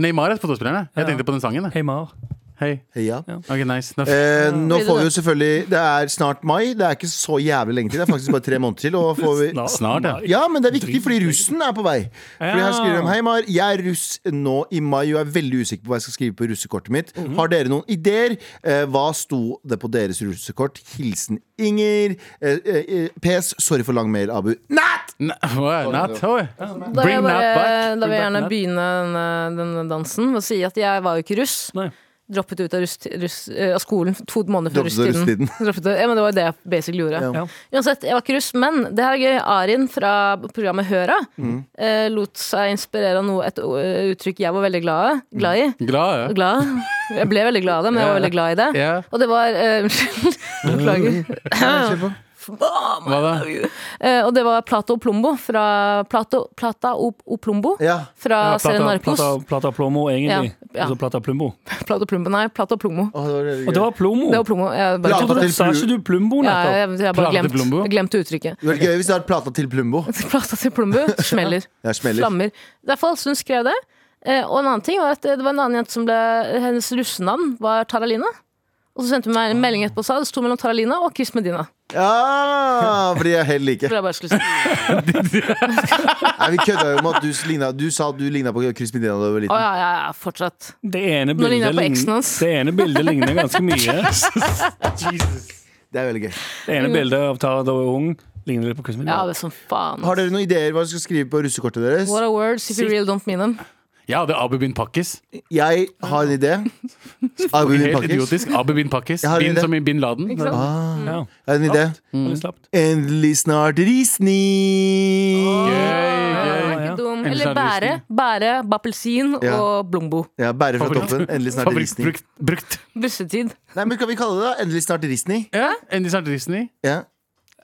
S6: Neymar er fotballspilleren. ja. Jeg
S4: Ja.
S6: tenkte på den sangen. jeg.
S4: Heymar.
S6: Hei.
S3: Heia.
S6: Ok, nice. Nå-
S3: Eh, nå
S5: Blir det
S3: får vi jo
S5: det?
S3: selvfølgelig Det er snart mai. Det er ikke så jævlig lenge til. Det er faktisk bare tre måneder til. Og får vi
S6: Snart, ja.
S3: ja, men det er viktig, fordi russen er på vei. Fordi her skriver de Hei, Mar. Jeg er russ nå i mai og er veldig usikker på hva jeg skal skrive på russekortet mitt.
S5: Mhm.
S3: Har dere noen ideer? Eh, hva sto det på deres russekort? Hilsen Inger. Eh, eh, eh, PS. Sorry for lang mail, Abu. Nat!
S6: Nei, å ja, Nat. Å ja.
S5: Da vil jeg,
S6: Bring that
S5: bare,
S6: back.
S5: da vil jeg
S4: Bring
S5: gjerne
S4: back
S5: begynne denne, denne dansen med å si at jeg var jo ikke russ.
S4: Nei.
S5: Droppet ut av, russ, russ, eh, av skolen to måneder før
S3: Droppet ut av russetiden.
S5: russetiden. Droppet ut- Ja, men det var jo det jeg basically gjorde.
S3: Ja.
S4: Ja.
S5: Uansett, jeg var ikke russ, men det her er gøy. Arin fra programmet Høra
S3: Mm.
S5: eh, lot seg inspirere av noe, et o- uttrykk jeg var veldig glad,
S3: Mm.
S5: glad i.
S6: Glad,
S5: Glad. Jeg ble veldig glad av det, men jeg var veldig glad i det.
S6: ja. ja.
S5: Og det var eh, Unnskyld. Beklager.
S6: Hva da?
S5: Eh, og det var Plato og Plombo fra Plato, Plata og, og Plombo
S3: Ja.
S5: fra
S4: Ja,
S5: serien
S4: plata,
S5: Narkos.
S4: plata, plata Plomo, egentlig.
S5: Ja, ja.
S4: Altså plata Plumbo.
S5: Plato og Plumbo, nei, Plato og Plombo.
S3: Å, det var veldig
S4: Og det
S3: gøy.
S4: var Plomo.
S5: Det var Plombo. Jeg bare,
S3: Plata
S4: Jeg trodde-
S3: til
S4: Sa
S3: Plu-
S4: ikke du Plumbo
S5: ja, jeg,
S4: nettopp?
S5: jeg, har bare
S6: Plata til
S5: glemt,
S6: Plumbo?
S5: glemt uttrykket.
S3: Det var gøy hvis det hadde vært plata til Plumbo.
S5: Plata til Plombo smeller.
S3: Jeg smeller.
S5: Flammer. Det er falsk, hun skrev det. Eh, og en annen ting var at det var en annen jente som ble Hennes russenavn var Taralina. Og så sendte hun meg en melding etterpå og sa det sto mellom Taralina og Chris Medina.
S3: Ja, fordi jeg er helt like.
S5: For jeg bare skulle si
S3: Nei, vi kødda jo med at du, ligna, du sa at du ligna på Chris Medina da du var
S5: Å
S3: liten.
S5: ja, ja, ja, fortsatt.
S4: Det ene
S5: Nå
S4: bildet,
S5: ligner jeg på eksen
S4: lign-
S5: hans.
S4: det ene bildet ligner ganske mye.
S3: Det er veldig gøy.
S4: Det ene bildet av Tara da hun var ung, ligner litt på Chris Medina.
S5: Ja, det er sånn faen.
S3: Har dere noen ideer hva dere skal skrive på russekortet deres?
S5: What are words if you really don't mean them?
S6: Jeg hadde Abu bin Pakkis.
S3: Jeg har en idé. Abu bin
S6: Helt
S3: Pakkis.
S6: idiotisk. Abu bin Pakkis.
S3: Jeg har en
S6: Bin
S3: idé.
S6: som i bin Laden.
S5: Ikke sant?
S4: Ja.
S3: Jeg har en idé.
S4: Litt slapt.
S3: Endelig snart risning.
S6: Gøy,
S5: Ikke
S6: gøy.
S4: ja.
S5: dum.
S6: Ellers
S5: Eller
S6: er det
S5: bære, bære, bappelsin
S3: Ja.
S5: og blombo.
S3: Ja, Bærer fra
S6: Favoritt.
S3: toppen. Endelig snart
S6: Favoritt
S3: risning.
S6: brukt. brukt.
S5: Bussetid.
S3: Nei, men Kan vi kalle det da? Endelig snart risning?
S6: Ja, Endelig snart Disney.
S3: Ja.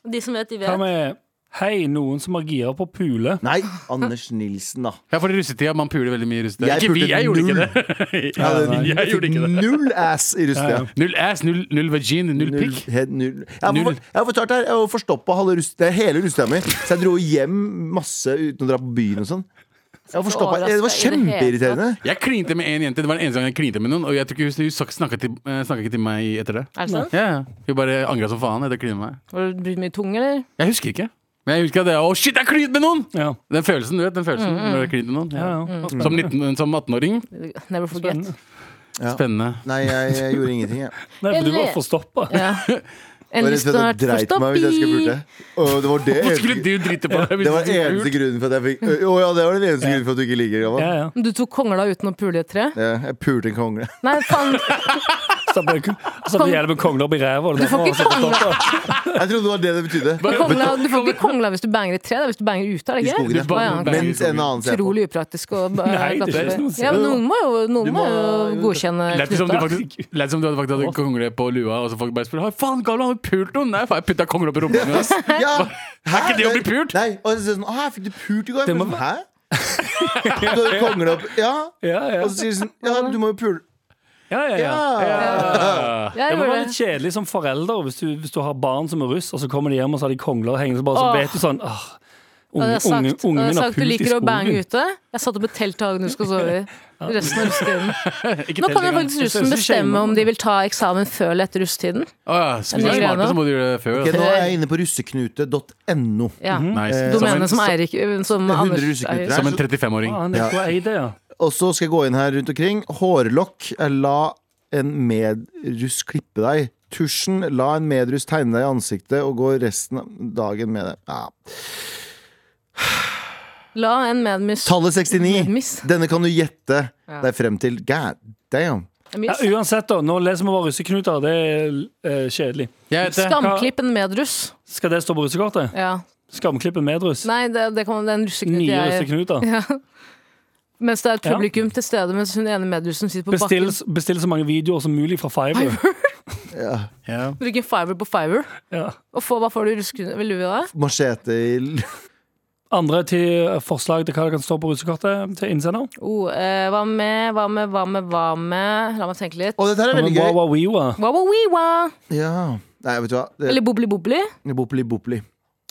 S5: De som vet, de
S4: Hva
S5: vet.
S4: med Hei, noen som har gira på pule?
S3: Nei, Anders Nilsen, da.
S6: Ja, for i russetida man puler veldig mye i russetida.
S3: Jeg
S6: Ikke vi,
S3: pulte
S6: jeg gjorde ikke det.
S3: Jeg hadde-
S6: Jeg
S3: jeg
S6: gjorde
S3: fikk
S6: ikke det.
S3: Null ass i
S4: Ja,
S3: russetida.
S4: ja.
S6: Null ass, null, null vagin, null
S3: Null,
S6: pikk.
S3: helt null. Jeg har
S6: Null.
S3: for- jeg har fortalt her, jeg var forstoppa halve rust, det er hele russetida mi. Så jeg dro hjem masse uten å dra på byen og sånn. Jeg var forstoppet. Det var kjempeirriterende.
S6: Jeg klinte med en jente. Det var den eneste gangen jeg klinte med noen. Og jeg tror ikke hun- hun sak- snakket til, eh, snakket ikke til meg etter det.
S5: Er det sant?
S6: Ja, ja. Hun bare angra som faen etter å kline med meg.
S5: Har du brukt mye tung, eller?
S6: Jeg husker ikke. Men jeg husker at det Å, shit, jeg klint med noen!
S4: Ja.
S6: Den følelsen, du vet. den følelsen Når du klint med noen
S4: Ja, ja.
S5: Mm.
S6: Som, 19, som 18-åring.
S5: Never forget.
S4: Spennende.
S6: Spennende.
S3: Nei, jeg, jeg gjorde ingenting, jeg.
S4: Nei, for du var
S5: Eller-
S4: forstoppa.
S5: Ja.
S3: Jeg
S5: En
S3: var redd for at jeg dreit meg ut. Jeg skulle burde. Og det var det
S6: Hvorfor skulle
S3: eneste,
S6: du drite på deg? hvis
S3: det var
S6: du skulle gjort?
S3: eneste grunnen for at jeg fikk Å ja, det var den eneste grunnen for at du ikke liker
S4: Ja,
S3: gammel.
S4: ja.
S5: Du tok kongla uten å pule i et tre?
S3: Ja, jeg pulte en kongle.
S5: Nei, faen.
S4: Så ble så ble jeg med kongler opp i ræva. og det
S5: Du får
S4: var
S5: ikke
S4: forstoppet.
S3: Jeg trodde det var det det betydde.
S5: Kongla, du får ikke kongla hvis du banger i et tre, det er hvis du banger ute, er
S3: I
S5: det
S3: skogen,
S5: ikke?
S3: ja.
S5: Å, ja, ok.
S3: Mens en annen ser på.
S5: Utrolig upraktisk. Og, eh,
S4: Nei, det er ikke noe å si.
S5: ja, men noen må jo,
S3: Du
S5: noen må
S3: må-
S5: jo godkjenne
S6: Lett som du
S5: knuta.
S6: faktisk lett som du hadde faktisk hadde kongle på lua, og så folk bare spør Har faen, Galvan, har du pult noen? Nei, faen, jeg putta kongle opp i rumpa mi. ass.
S3: Ja. Hæ?
S6: ikke det å bli pult?
S3: Nei, og så sier sånn, «Å, her fikk du pult i går
S4: Det må-
S3: Sånn, Hæ? Du hadde konglet opp Ja,
S4: Ja, ja.
S3: og så sier de sånn Ja, du må jo pule
S4: Ja, ja, ja.
S5: Ja,
S4: Det
S5: jeg
S4: må
S5: gjorde
S4: være litt
S5: det.
S4: kjedelig som forelder hvis du, hvis du har barn som er russ, og så kommer de hjem og så har de kongler hengende, så bare så
S5: Åh.
S4: vet du sånn åh,
S5: Hadde
S4: unge,
S5: jeg
S4: unge,
S5: sagt,
S4: Ungen
S5: hadde jeg
S4: min har
S5: sagt du
S4: pult i
S5: liker å bange
S4: skogen.
S5: ute Jeg satt opp et telt til hagen du skal sove i. Resten av russetiden.
S6: Ikke
S5: Nå kan
S6: telt
S5: jo
S6: engang.
S5: faktisk russen bestemme om de vil ta eksamen før eller etter russetiden.
S6: Å ja, Hvis du er
S5: Eller
S6: smart,
S5: grene.
S6: så må du gjøre det før.
S3: Ok,
S6: ass.
S3: nå er jeg inne på russeknute.no
S5: Ja.
S6: Nice.
S5: Domenet som
S6: en,
S5: Eirik eh, Som
S3: er 100
S5: Anders
S3: russeknuter
S5: eier.
S3: her.
S6: som en 35-åring.
S4: Faen, jeg skulle eie det, ja.
S3: Og så skal jeg gå inn her rundt omkring Hårlokk, eh, la en medruss klippe deg Tusjen, la en medruss tegne deg i ansiktet Og gå resten av dagen med det ja.
S5: La en medmiss
S3: Tallet 69
S5: Miss.
S3: Denne kan du gjette
S5: Ja.
S3: deg frem til God damn
S4: ja.
S5: Miss.
S4: Uansett, da. Nå leser vi bare russeknuter. Det er eh, kjedelig.
S6: Jeg vet det.
S5: Skamklipp en medruss.
S4: Skal det stå på russekortet?
S5: Ja.
S4: Skamklippen med russ?
S5: Nei, det, det, kan, det er en russeknut
S4: Nye
S5: jeg
S4: russeknuter.
S5: Mens det er et
S4: Ja.
S5: publikum til stede mens hun ene medrussen sitter på
S4: Bestill,
S5: bakken.
S4: bestill så mange videoer som mulig fra Fiver.
S6: Ja.
S5: Bruk en fiver på fiver.
S4: Ja.
S5: Og få, hva får du i russeknut? Vil du ha det?
S3: Machete i l-
S4: Andre til eh, forslag til hva det kan stå på russekortet til innsender?
S5: Oh, eh, hva med, hva med, hva med, hva med La meg tenke litt.
S3: Og dette her er veldig
S4: Wow,
S3: gøy
S4: wow, wiwa.
S5: Wa-wa-wi-wa.
S3: Ja Nei, vet du hva Det-
S5: Eller bobli-bobli.
S3: Bopli, bopli.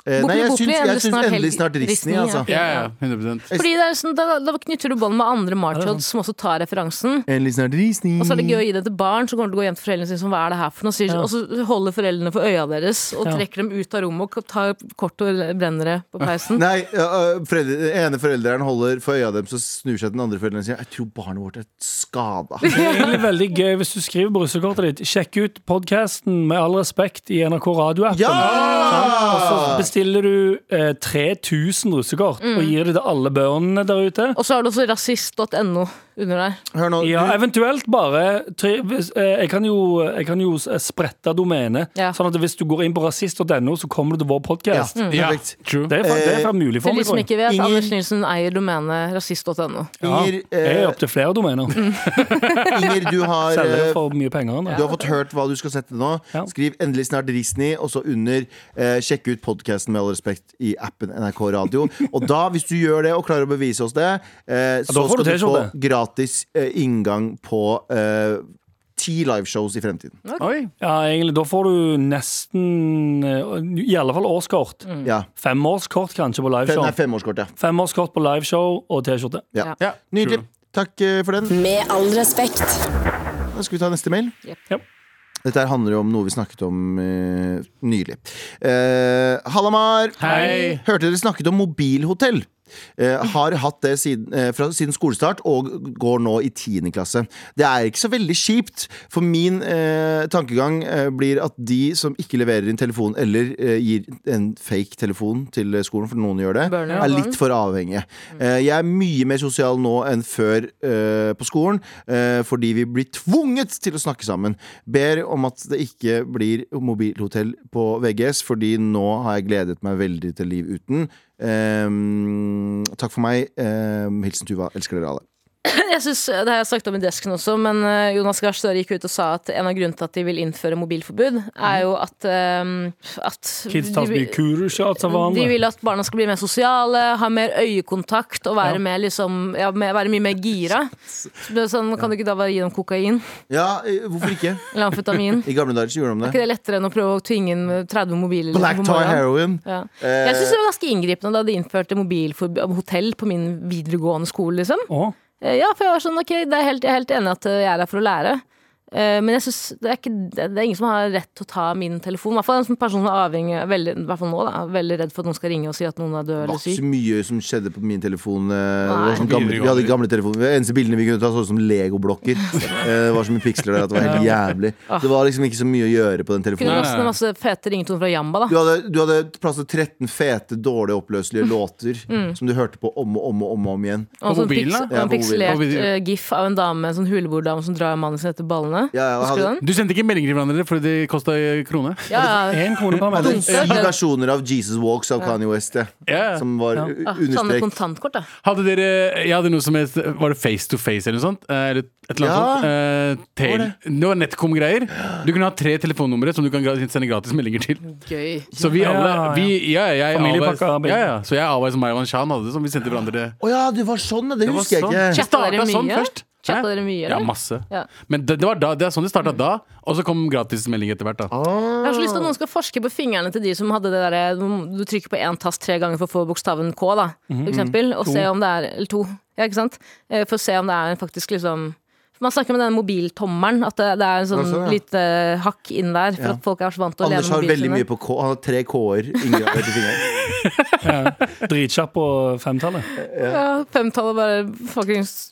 S3: Eh,
S5: Bopli,
S3: nei, jeg
S5: bopli,
S3: syns, jeg
S5: endelig
S3: syns
S5: snart
S3: endelig
S5: helg-
S3: snart Disney,
S5: Disney, ja.
S3: altså.
S6: Ja, ja, 100
S5: Fordi det er sånn, da, da knytter du bånd med andre marchods som også tar referansen.
S3: Endelig snart Disney.
S5: Og så er det gøy å gi det til barn som kommer til å gå hjem til foreldrene sine. Som, hva er det her for noe? Sier,
S4: Ja.
S5: Og så holder foreldrene for øya deres og
S4: Ja.
S5: trekker dem ut av rommet og tar kort og brennere på peisen.
S3: Nei, ja, ø, foreldre, den ene forelderen holder for øya dem, så snur seg til den andre forelderen og sier 'Jeg tror barnet vårt er skada'.
S4: Det er egentlig veldig gøy hvis du skriver på russekortet ditt. Sjekk ut podkasten Med all respekt i NRK radioappen. Og så
S3: Ja!
S4: bestiller du eh, 3000 russekort
S5: Mm.
S4: og gir det til alle børnene der ute.
S5: Og så har du også rasist.no under der.
S3: Hør nå.
S4: Ja,
S3: du-
S4: eventuelt bare tre, hvis, eh, jeg, kan jo, jeg kan jo s- sprette domenet,
S5: Ja.
S4: sånn at hvis du går inn på rasist.no, så kommer du til vår
S3: Ja,
S4: podkast.
S3: perfekt.
S6: True.
S4: Det er fa-
S3: Eh,
S4: det er fa- mulig for
S5: Til
S4: meg,
S5: de
S4: tror
S5: som
S4: jeg.
S5: ikke vet,
S3: Inger-
S5: Anders Nilsen eier domenet rasist.no.
S4: Ja.
S3: Inger,
S4: Jeg er
S3: eh,
S4: opptil flere domener.
S5: Mm.
S3: Inger, du har
S4: Selger det
S3: eh,
S4: for mye penger. enn det.
S3: du har fått hørt hva du skal sette nå.
S4: Ja.
S3: Skriv 'endelig snart Disney', og så under eh, 'sjekk ut podkasten med all respekt' i appen NRK Radio. Og da, hvis du gjør det og klarer å bevise oss det, eh, så
S4: da får
S3: skal
S4: du
S3: du få
S4: T-skjorte.
S3: gratis eh, inngang på eh, ti liveshows i fremtiden.
S6: Oi.
S4: Ja, egentlig, da får du nesten eh, I alle fall årskort.
S5: Mm.
S3: Ja.
S4: Femårskort kanskje på
S3: Fe-
S4: liveshow.
S3: Nei, femårskort, ja.
S4: Femårskort på liveshow og T-skjorte.
S3: ja.
S6: Ja,
S3: Nydelig.
S6: true.
S3: Takk eh, for den.
S8: Med all respekt.
S3: Da skal vi ta neste mail.
S5: Jep.
S4: Jep.
S3: Dette her handler jo om noe vi snakket om eh, nylig. Eh, Halla, Mar.
S6: Hei.
S3: Hørte dere snakket om mobilhotell? Eh, har hatt det siden, eh, fra, siden skolestart og går nå i 10. klasse. Det er ikke så veldig kjipt, for min eh, tankegang eh, blir at de som ikke leverer inn telefon eller eh, gir en fake telefon til skolen, for noen gjør det,
S5: Burner
S3: er
S5: alarm.
S3: litt for avhengige.
S5: Mm.
S3: Eh, jeg er mye mer sosial nå enn før eh, på skolen, eh, fordi vi blir tvunget til å snakke sammen. Ber om at det ikke blir mobilhotell på VGS, fordi nå har jeg gledet meg veldig til liv uten. Ehm, takk for meg. Ehm, hilsen Tuva. Elsker dere alle.
S5: Jeg synes, eh, Det har jeg snakket om i desken også, men eh, Jonas Gahr Støre gikk ut og sa at en av grunnene til at de vil innføre mobilforbud, er jo at, eh, at
S4: Mhm. Kids tar så
S5: de-
S4: mye kurushots av hverandre.
S5: De vil at barna skal bli mer sosiale, ha mer øyekontakt og være,
S4: Ja.
S5: mer, liksom, ja, mer, være mye mer gira. Så det er sånn, kan du ikke da bare gi dem kokain
S3: Ja, eh, hvorfor ikke?
S5: eller amfetamin?
S3: I gamle dager så gjorde de
S5: Er
S3: det.
S5: ikke det lettere enn å prøve å tvinge inn 30 mobiler? liksom,
S3: Black
S5: på
S3: tie
S5: morgenen?
S3: heroin.
S5: Ja.
S3: Eh,
S5: Jeg syns det var ganske inngripende da de innførte mobilhotell på min videregående skole. liksom
S4: Å,
S5: Eh, Ja, for jeg var sånn, ok, det er helt, jeg er helt enig at eh, jeg er her for å lære. Eh, Eh, Men jeg synes det, er ikke, det det er ingen som har rett til å ta min telefon. I hvert fall en sånn person som er avhengig, veldig, i hvert fall nå, da, er veldig redd for at noen skal ringe og si at noen er død
S3: Det var
S5: eller
S3: ikke
S5: syk.
S3: så mye som skjedde på min telefon. eh, Det var
S5: Nei.
S3: sånn gamle, vi hadde gamle telefoner. De eneste bildene vi kunne ta, så ut som legoblokker. Eh, Det var så mye piksler der at det var helt jævlig. Det var liksom ikke så mye å gjøre på den
S5: Ah. Kunne
S3: telefonen.
S5: laste ned masse fete ringetoner fra Jamba,
S3: Du
S5: da.
S3: hadde, du hadde plass til 13 fete, dårlig oppløselige låter som du hørte på om og om og om, og om igjen.
S5: Mm. Og en sånn piks-
S6: mobilen, da?
S5: og
S3: Ja,
S5: en
S3: på
S5: pikselert
S6: mobilen.
S5: eh, gif av en dame, en sånn huleborddame som drar mannen sin etter ballene.
S3: Ja, jeg
S5: Husker du
S3: hadde,
S5: den?
S6: Du sendte ikke meldinger til hverandre fordi det kosta krone?
S5: Ja, ja.
S4: Én krone per
S3: hadde
S4: melding.
S5: Dunker.
S3: syv versjoner av Jesus Walks av Kanye West, jeg,
S6: Ja.
S3: som var
S4: Ja.
S3: u-
S5: Ah, Sånne
S3: understrekt.
S5: kontantkort, da.
S6: Hadde dere Jeg hadde noe som het Var det Face to Face eller noe sånt? Eh, Eller et eller
S3: Ja.
S6: annet sånt. Eh,
S3: Var
S6: Tail. Det var Netcom-greier. Du kunne ha tre telefonnumre som du kan gra- sende gratis meldinger til.
S5: Gøy.
S6: Så vi
S4: Ja,
S6: alle
S4: ja, ja.
S6: vi, ja, jeg,
S4: Familiepakke
S6: Awais-
S4: av begge.
S6: ja, ja. Så jeg Awais og Marwan Shan hadde det som vi sendte hverandre.
S3: Å ja, det var sånn, ja. Det
S6: var
S3: husker
S6: sånn.
S3: jeg ikke.
S6: Shit.
S5: Chatta dere
S6: Startet
S5: mye?
S6: sånn først.
S5: Chatta
S6: Hæ?
S5: dere mye,
S6: Ja,
S5: eller?
S6: masse.
S5: Ja.
S6: Men det, det var da, det er sånn det starta da. Og så kom gratismelding etter hvert. da
S5: Jeg har så lyst til at noen skal forske på fingrene til de som hadde det derre Du trykker på én tast tre ganger for å få bokstaven K, da, for eksempel. Og se om det er Eller to, ja, ikke sant? Eh, For å se om det er en faktisk liksom for Man snakker om den mobiltommelen, at det, det er en sånn
S3: Ja, sånn, ja.
S5: lite hakk inn der. For
S3: Ja.
S5: at folk er så vant til å
S3: Anders
S5: leve
S3: har
S5: med
S3: veldig mye
S5: mobilene.
S3: på K. Han har tre K-er inngravert i fingeren.
S4: Dritkjapp på femtallet.
S5: Ja, Femtallet bare fuckings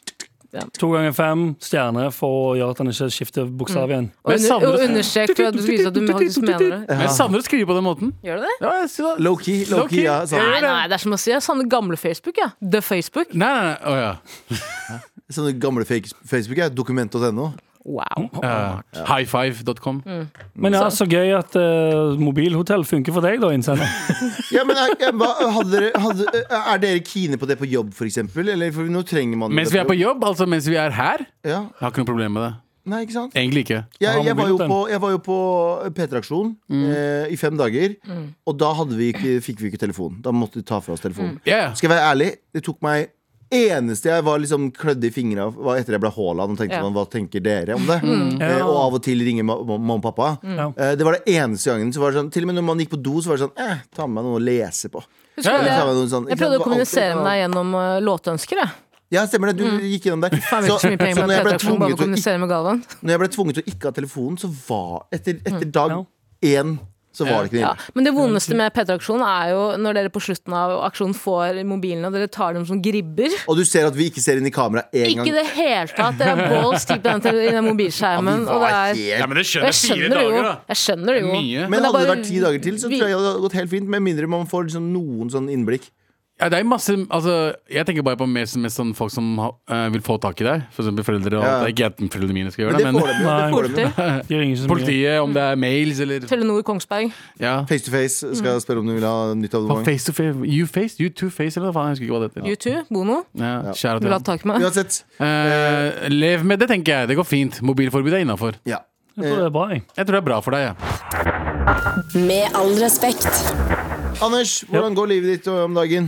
S4: To ganger fem stjerne for å gjøre at han ikke skifter bokstav igjen.
S5: Og,
S6: Men jeg
S5: under,
S6: savner
S5: og
S6: det.
S5: understrek for at du skal vise at du faktisk mener det.
S6: Men jeg savner å skrive på den måten.
S5: Gjør du det?
S6: Ja, jeg synes det-
S3: Low-key.
S6: Low
S3: Low-key,
S6: key.
S3: ja. Sånn.
S5: Nei, nei, det er som å si sånne gamle Facebook, ja. The Facebook.
S6: Nei, nei, nei. Å, ja.
S3: Sånne gamle fake- Facebook er dokument.no.
S5: Wow.
S6: Eh, Highfive.com.
S5: Mm.
S4: Men ja, så gøy at eh, mobilhotell funker for deg, da, innsender.
S3: Ja, men er, ja, hva- hadde dere, hadde, er dere kine på det på jobb, for eksempel? Eller for nå trenger man det
S6: Mens vi er på jobb, altså mens vi er her.
S3: Ja.
S6: Jeg har ikke noe problem med det.
S3: Nei, ikke sant?
S6: Egentlig ikke.
S3: Jeg,
S4: Ha
S3: jeg, var jo
S4: mobilen.
S3: på, jeg var jo på P3-aksjon
S6: Mm.
S3: eh, i fem dager, og da hadde vi ikke, fikk vi ikke telefon. Da måtte vi ta fra oss telefonen.
S6: Ja, ja.
S3: Skal jeg være ærlig, det tok meg Eneste jeg var liksom klødde i fingra av, var etter jeg ble Haaland. Og tenkte
S5: Ja. Mm.
S3: sånn, hva tenker dere om det? Eh,
S4: Ja.
S3: og av og til ringer ma- ma- mamma og pappa.
S4: Ja.
S3: Eh, det var det eneste gangen. Så var det sånn, til og med når man gikk på do, så var det sånn eh, Ta med meg noe å lese på.
S5: Husker du
S6: Ja,
S5: det?
S6: ja.
S3: Ta med noe sånn-
S5: Jeg
S3: ikke sant, det
S5: prøvde å
S3: var alltid-
S5: kommunisere med deg gjennom eh, låtønsker, jeg.
S3: Ja, stemmer det. Du gikk gjennom der.
S5: Faen, vi har ikke så mye penger
S3: når,
S5: med
S3: jeg ble
S5: P3-aksjonen, bare
S3: tvunget
S5: å
S3: til å ikke,
S5: kommunisere med Galvan.
S3: når jeg ble tvunget til å ikke ha telefonen, så var Etter, etter dag én så var det ikke
S5: Mm. Ja.
S3: det.
S5: Men det vondeste med P3-aksjonen er jo når dere på slutten av aksjonen får mobilene, og dere tar dem som gribber.
S3: Og du ser at vi ikke ser inn i kamera én
S5: Ikke
S3: gang.
S5: i det hele tatt. Dere er balls deep i den, tele- i den mobilskjermen. Og det er,
S6: Ja, men det
S5: og
S6: skjønner
S5: jeg skjønner det jo. Jeg skjønner det jo.
S6: Mm. Mye.
S3: Men
S5: det er
S3: hadde det
S5: bare-
S3: vært ti dager til, så
S5: vi-
S3: tror jeg det hadde gått helt fint. Med mindre man får liksom noen sånn innblikk.
S6: Ja, det er masse, altså, jeg tenker bare på mest, mest sånn folk som ha- eh, vil få tak i deg. For eksempel foreldre. Og
S3: Ja.
S6: alt. Ikke at foreldrene mine skal
S3: Men det
S6: gjøre det,
S3: får
S6: men
S3: de jo. Det
S4: Nei.
S3: får de jo.
S4: De ringer ikke så mye.
S6: politiet, om det er mails eller
S5: Telenor Kongsberg.
S6: ja.
S3: Face to face skal jeg spørre om du vil ha nytt
S6: Hva,
S3: abonnement.
S6: Face to face, you face, you two face, eller hva faen? Jeg husker ikke hva det heter.
S5: U2, Bono.
S6: Ja, kjære til
S5: Vil du ha
S6: han.
S5: tak i meg?
S3: Uansett.
S6: Eh, lev med det, tenker jeg. Det går fint. Mobilforbud er innafor.
S3: Ja.
S4: Jeg tror det er bra, jeg.
S6: Jeg tror det er bra for deg. Ja.
S8: Med all respekt.
S3: Anders, hvordan går livet ditt eh, om dagen?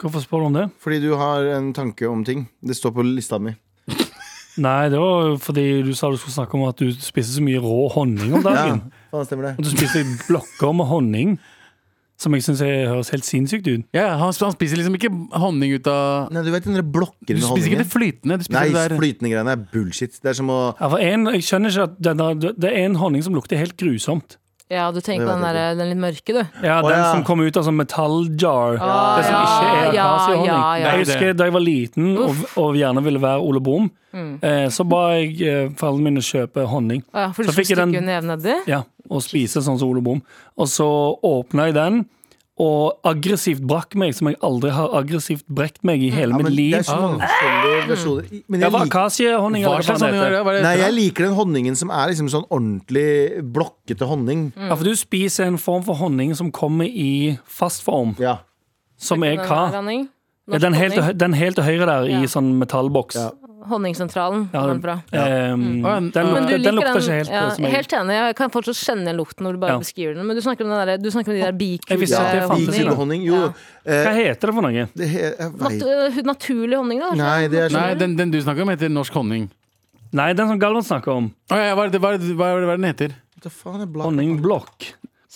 S4: Hvorfor spør du om det?
S3: Fordi du har en tanke om ting. Det står på lista mi.
S4: Nei, det var jo fordi du sa du skulle snakke om at du spiser så mye rå honning om
S3: Ja,
S4: dagen.
S3: faen stemmer det.
S4: Og du spiser blokker med honning, som jeg syns høres helt sinnssykt ut.
S6: Ja, han, han spiser liksom ikke honning ut av
S3: Nei, du vet den der blokker
S6: Du
S3: med
S6: spiser ikke
S3: honningen?
S6: det flytende. Du
S3: Nei,
S6: spiser det der
S3: flytende greiene er bullshit. Det er som å
S4: Ja, for en, jeg skjønner ikke at den der, Det er en honning som lukter helt grusomt.
S5: Ja, du tenker på den, der, den litt mørke, du.
S4: Ja, Den
S3: ja.
S4: som kommer ut av sånn metalljar.
S5: Ah,
S4: det som ikke
S5: ja,
S4: er akasiehonning.
S5: ja, ja.
S4: Jeg husker da jeg var liten og, og gjerne ville være Ole Brumm, eh, så ba jeg eh, foreldrene mine kjøpe honning.
S5: Mm. Ja, for du
S4: Så
S5: skal
S4: fikk jeg den-
S5: stikke neven nedi.
S4: Ja, og spise sånn som Ole Brumm. Og så åpna jeg den. Og aggressivt brakk meg, som jeg aldri har aggressivt brekt meg
S5: Mm.
S4: i hele
S3: ja, men
S4: mitt
S3: Det
S4: liv.
S3: er så mange
S5: Ah.
S3: forskjellige versjoner. I- Men
S4: Det
S3: jeg
S4: var
S3: liker,
S4: akasiehonning.
S6: Hva
S4: eller hva faen
S6: slags honning
S4: det heter.
S6: er det? Hva er det?
S3: nei, jeg liker den honningen som er liksom sånn ordentlig blokkete honning.
S5: Mm.
S4: Ja, for du spiser en form for honning som kommer i fast form,
S3: Ja.
S4: som er
S5: Den der,
S4: hva?
S5: honning.
S4: Ja, Den helt, til hø- den helt til høyre der,
S5: Ja.
S4: i sånn metallboks.
S3: Ja.
S5: Honningsentralen.
S4: Ja,
S5: den er bra.
S3: Mm.
S4: Ehm,
S6: Ja,
S4: Den lukter,
S5: Men du
S6: men
S4: den
S5: liker
S4: lukter
S5: den,
S4: ikke helt
S5: ja,
S4: eh, som jeg
S5: Helt enig, jeg kan fortsatt kjenne den lukten når du bare
S4: Ja.
S5: beskriver den. Men du snakker om, den der, du snakker om de der
S4: Jeg visste ikke at det
S5: bikubehonning.
S4: fantes i
S3: Ikke
S4: det.
S3: honning. Jo,
S4: Hva
S3: eh,
S4: heter det for noe?
S3: det he- jeg vet
S5: Nat øh, naturlig honning, da? kanskje?
S3: Nei, det er
S6: Nei,
S3: sånn
S6: den, den du snakker om, heter norsk honning.
S4: Nei, den som Galvan snakker om.
S6: Å, ja, hva er det, hva er det, hva er det den heter?
S3: sånn- Hva faen er blakk?
S4: Honningblokk.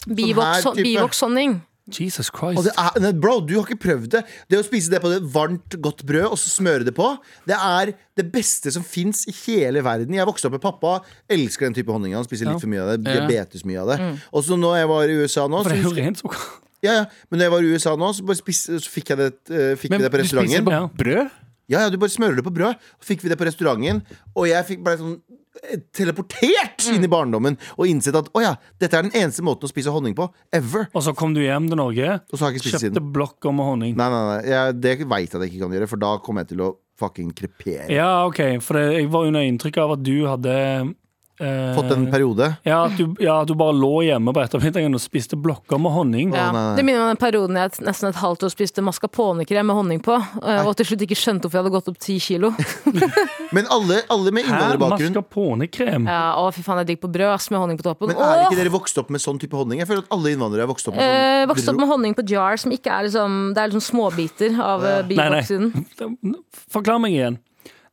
S5: Bivoks-
S3: sånn her type.
S5: Bivokshonning.
S4: Jesus
S3: Og
S4: Christ.
S3: det er, nei, bro, du har ikke prøvd det. Det å spise det på det varmt, godt brød og så smøre det på, det er det beste som fins i hele verden. Jeg vokste opp med pappa, elsker den type honning. Han spiser litt for mye av det.
S6: Ja. Mm.
S3: Diabetes mye av det. Og så når jeg var i USA nå så
S4: For det er jo
S3: husker-
S4: rent sukker.
S3: ja, ja. Men når jeg var i USA nå, så, bare spis, så fikk jeg det, eh, fikk vi det på
S6: du spiser
S3: restauranten.
S6: bare brød?
S3: Ja, ja, du bare smører det på brød. Så fikk vi det på restauranten, og jeg fikk bare sånn eh, Teleportert
S6: Mm.
S3: inn i barndommen og innsett at å ja, dette er den eneste måten å spise honning på. Ever.
S4: Og så kom du hjem til Norge,
S3: Og så har jeg ikke spist siden.
S4: kjøpte blokker med honning.
S3: Nei, nei, nei, jeg, det veit jeg at jeg ikke kan gjøre, for da kommer jeg til å fucking krepere.
S4: Ja, OK, for det, jeg var under inntrykk av at du hadde eh,
S3: Fått en periode.
S4: Ja at, du, ja, at du bare lå hjemme på ettermiddagen og spiste blokker med honning.
S5: Ja.
S3: nei, nei.
S5: Det minner meg om den perioden jeg t- nesten et halvt år spiste mascarponekrem med honning på, eh, og til slutt ikke skjønte hvorfor jeg hadde gått opp ti kilo.
S3: Men alle, alle med
S4: Hæ?
S3: innvandrerbakgrunn
S4: Mascarponekrem?
S5: Ja, å, fy faen, jeg digg på brød ass, med honning på toppen.
S3: Men er ikke
S5: Åh!
S3: dere vokst opp med sånn type honning? Jeg føler at alle innvandrere er vokst opp med
S5: Eh,
S3: sånn
S5: vokste opp med honning på jar, som ikke er liksom Det er liksom småbiter av eh,
S4: Nei, nei.
S5: bivoksiden.
S4: Forklar meg igjen.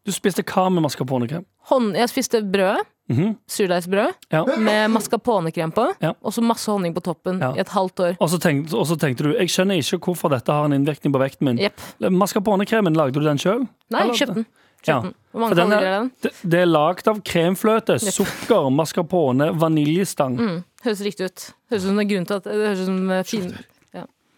S4: Du spiste hva med mascarponekrem?
S5: Hånd- Jeg spiste brød,
S4: Mhm.
S5: surdeigsbrød,
S4: Ja.
S5: med mascarponekrem på,
S4: Ja.
S5: og så masse honning på toppen
S4: Ja.
S5: i et halvt år.
S4: Og så tenkte, og så tenkte du jeg skjønner ikke hvorfor dette har en innvirkning på vekten min.
S5: Jepp.
S4: Mascarponekremen, lagde du den sjøl?
S5: Nei, kjøpte den.
S4: Ja.
S5: den. Hvor
S4: For
S5: mange
S4: den er-
S5: kalorier er den?
S4: Det, det er lagd av kremfløte, sukker, mascarpone, vaniljestang.
S5: Høres riktig ut. Høres ut som det er grunn til at Det høres ut som eh, fin...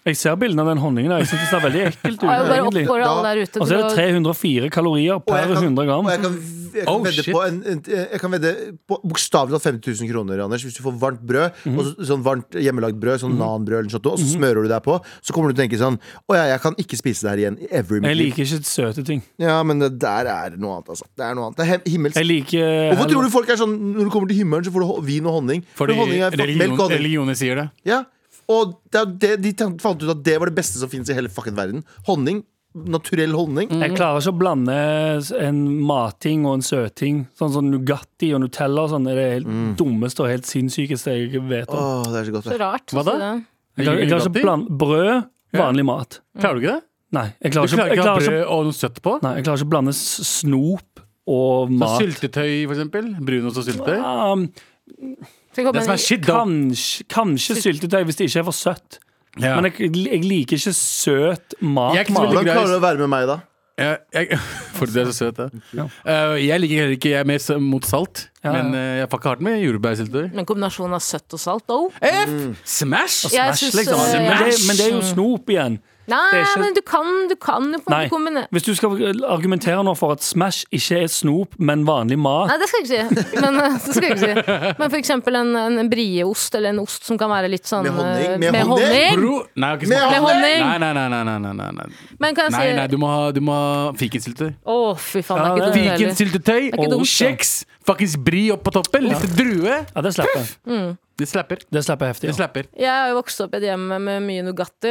S4: Jeg ser bildene av den honningen. her. Jeg synes det ser veldig ekkelt ut.
S5: Jeg vil bare
S4: egentlig.
S5: oppfordre alle
S3: Da-
S5: der ute
S4: Og så er det
S5: å-
S4: 304 kalorier
S3: Og jeg
S4: per
S3: kan-
S4: 100 gram.
S3: Og jeg kan, jeg kan
S6: Oh,
S3: vedde
S6: shit.
S3: på, en, en, jeg kan vedde på bokstavelig talt 50 000 kroner, Anders, hvis du får varmt brød, og så, sånn varmt hjemmelagd brød, sånn nanbrød eller noe sånt, og så smører du deg på, så kommer du til å tenke sånn Å ja, jeg kan ikke spise det her igjen. Every
S4: Jeg liker ikke søte ting.
S3: Ja, men det der er noe annet, altså. Det er noe annet. Det er he- himmelsk.
S4: Jeg liker eh,
S3: Hvorfor tror du folk er sånn når du kommer til himmelen, så får du ho- vin og honning? For
S6: Eh, Fordi
S3: honning er fa- melk
S6: religion,
S3: og honning.
S6: religioner sier det.
S3: Ja. Og det, er det, de tan- fant ut at det var det beste som fins i hele fucking verden. Honning. Naturell honning.
S6: Mm.
S5: Mm.
S4: Jeg klarer ikke å blande en matting og en søtting. Sånn som Nugatti og Nutella og sånn er det helt
S3: Mm.
S4: dummeste og helt sinnssykeste jeg vet om.
S3: Åh, det er så godt.
S5: Så
S3: det.
S5: rart.
S6: Hva da?
S5: å si det.
S4: Jeg klarer, jeg klarer ikke å blande brød, vanlig mat.
S6: Klarer du ikke det?
S4: Nei, jeg
S6: Du
S4: klarer ikke,
S6: klarer
S4: jeg
S6: ikke å ha
S4: klarer ikke,
S6: brød og noe søtt på?
S4: nei, jeg klarer ikke å blande s- snop og
S6: Så
S4: mat.
S6: syltetøy, for eksempel? Brunost og syltetøy?
S4: Um,
S5: Skal jeg komme
S6: Det som
S5: med
S6: er
S5: en-
S6: shit, da
S4: kanskje, kanskje syltetøy hvis det ikke er for søtt.
S6: ja.
S4: Men jeg, jeg liker ikke søt mat.
S6: Jeg er ikke så
S4: mat.
S6: veldig-
S3: Hvordan klarer du å være med meg, da?
S6: jeg, jeg, For du er så søt, da.
S4: Ja.
S6: Eh, jeg liker heller ikke Jeg er mer s- mot salt.
S4: Ja, ja.
S6: Men eh, jeg fucker hardt med jordbærsyltetøy.
S5: Men kombinasjonen av søtt og salt òg?
S6: F!
S3: Mm.
S6: Smash!
S5: Jeg
S4: Æsj,
S5: synes,
S4: liksom.
S5: eh,
S4: men, det, men det er jo snop igjen.
S5: Nei,
S4: Det er ikke-
S5: men du kan, du kan jo på en
S4: Nei,
S5: måte kombinere
S4: Hvis du skal argumentere nå for at Smash ikke er snop, men vanlig mat
S5: Nei, det skal jeg ikke si. Men, eh, det skal jeg ikke si. men for eksempel en, en, en brieost, eller en ost som kan være litt sånn
S3: Med honning,
S5: eh,
S3: med
S5: Med
S3: honning.
S5: honning.
S6: Bro Nei, jeg har ikke
S3: Med
S6: smakt det.
S5: honning!
S6: Nei, nei, nei, nei, nei, nei, nei, nei.
S5: Men kan
S6: nei,
S5: jeg
S6: nei
S5: si
S6: du må ha, du må ha fikensyltetøy.
S5: Å, fy
S4: Ja,
S5: faen, det er ikke
S4: det-
S5: dumt heller.
S6: Fikensyltetøy
S5: ikke
S6: og
S5: dumt, da.
S6: kjeks! Fuckings bri opp på toppen. Litt drue.
S4: Ja, det slipper jeg.
S6: Det slapper.
S4: Det slipper jeg heftig.
S6: Det
S4: Ja.
S6: slapper.
S5: Jeg har jo vokst opp i et hjem med mye Nugatti,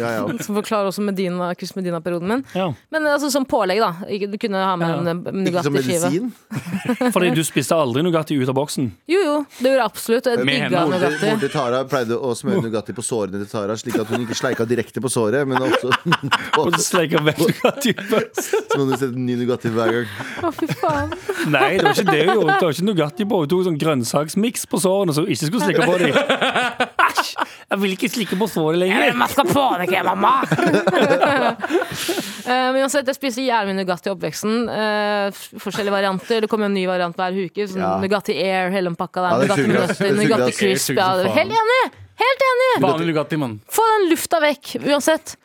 S3: Ja, ja.
S5: som forklarer også Medina, Chris Medina-perioden min.
S4: Ja.
S5: Men eh, altså som pålegg, da. Ikke- Du kunne ha med
S4: Ja.
S5: en eh,
S3: Ikke som
S5: Nugatti-skive.
S3: medisin?
S4: Fordi du spiste aldri Nugatti ut av boksen.
S5: Jo, jo, det gjorde jeg absolutt. og Jeg
S6: Med
S5: digga
S3: Moren
S6: hendene,
S3: til-
S5: Nugatti.
S3: moren til Tara pleide å smøre Nugatti på sårene til Tara, slik at hun ikke sleika direkte på såret, men også
S4: Og du sleiker vekk Nugatti ut av boksen.
S3: Så må du sette en ny Nugatti hver gang.
S5: Å, fy faen.
S4: Nei, det var ikke det hun gjorde. Det var ikke Nugatti på. Hun tok sånn grønnsaksmiks på sårene som hun ikke skulle slikke på dem. Æsj! Jeg vil ikke slikke på såret lenger.
S5: Eh, men uansett, jeg spiser jævlig mye Nugatti i oppveksten. Eh, f- forskjellige varianter. Det kommer en ny variant hver uke. Sånn
S3: Ja.
S5: Nugatti Air, hele den pakka der.
S3: Ja, det
S5: Nugatti
S3: suger,
S5: med
S3: ass.
S5: nøtter,
S3: Det suger,
S5: Nugatti
S3: ass.
S5: Crisp.
S6: Air
S5: Ja,
S6: suger som
S5: helt enig! Helt enig!
S6: Vanlig Lugatti, mann.
S5: Få den lufta vekk, uansett.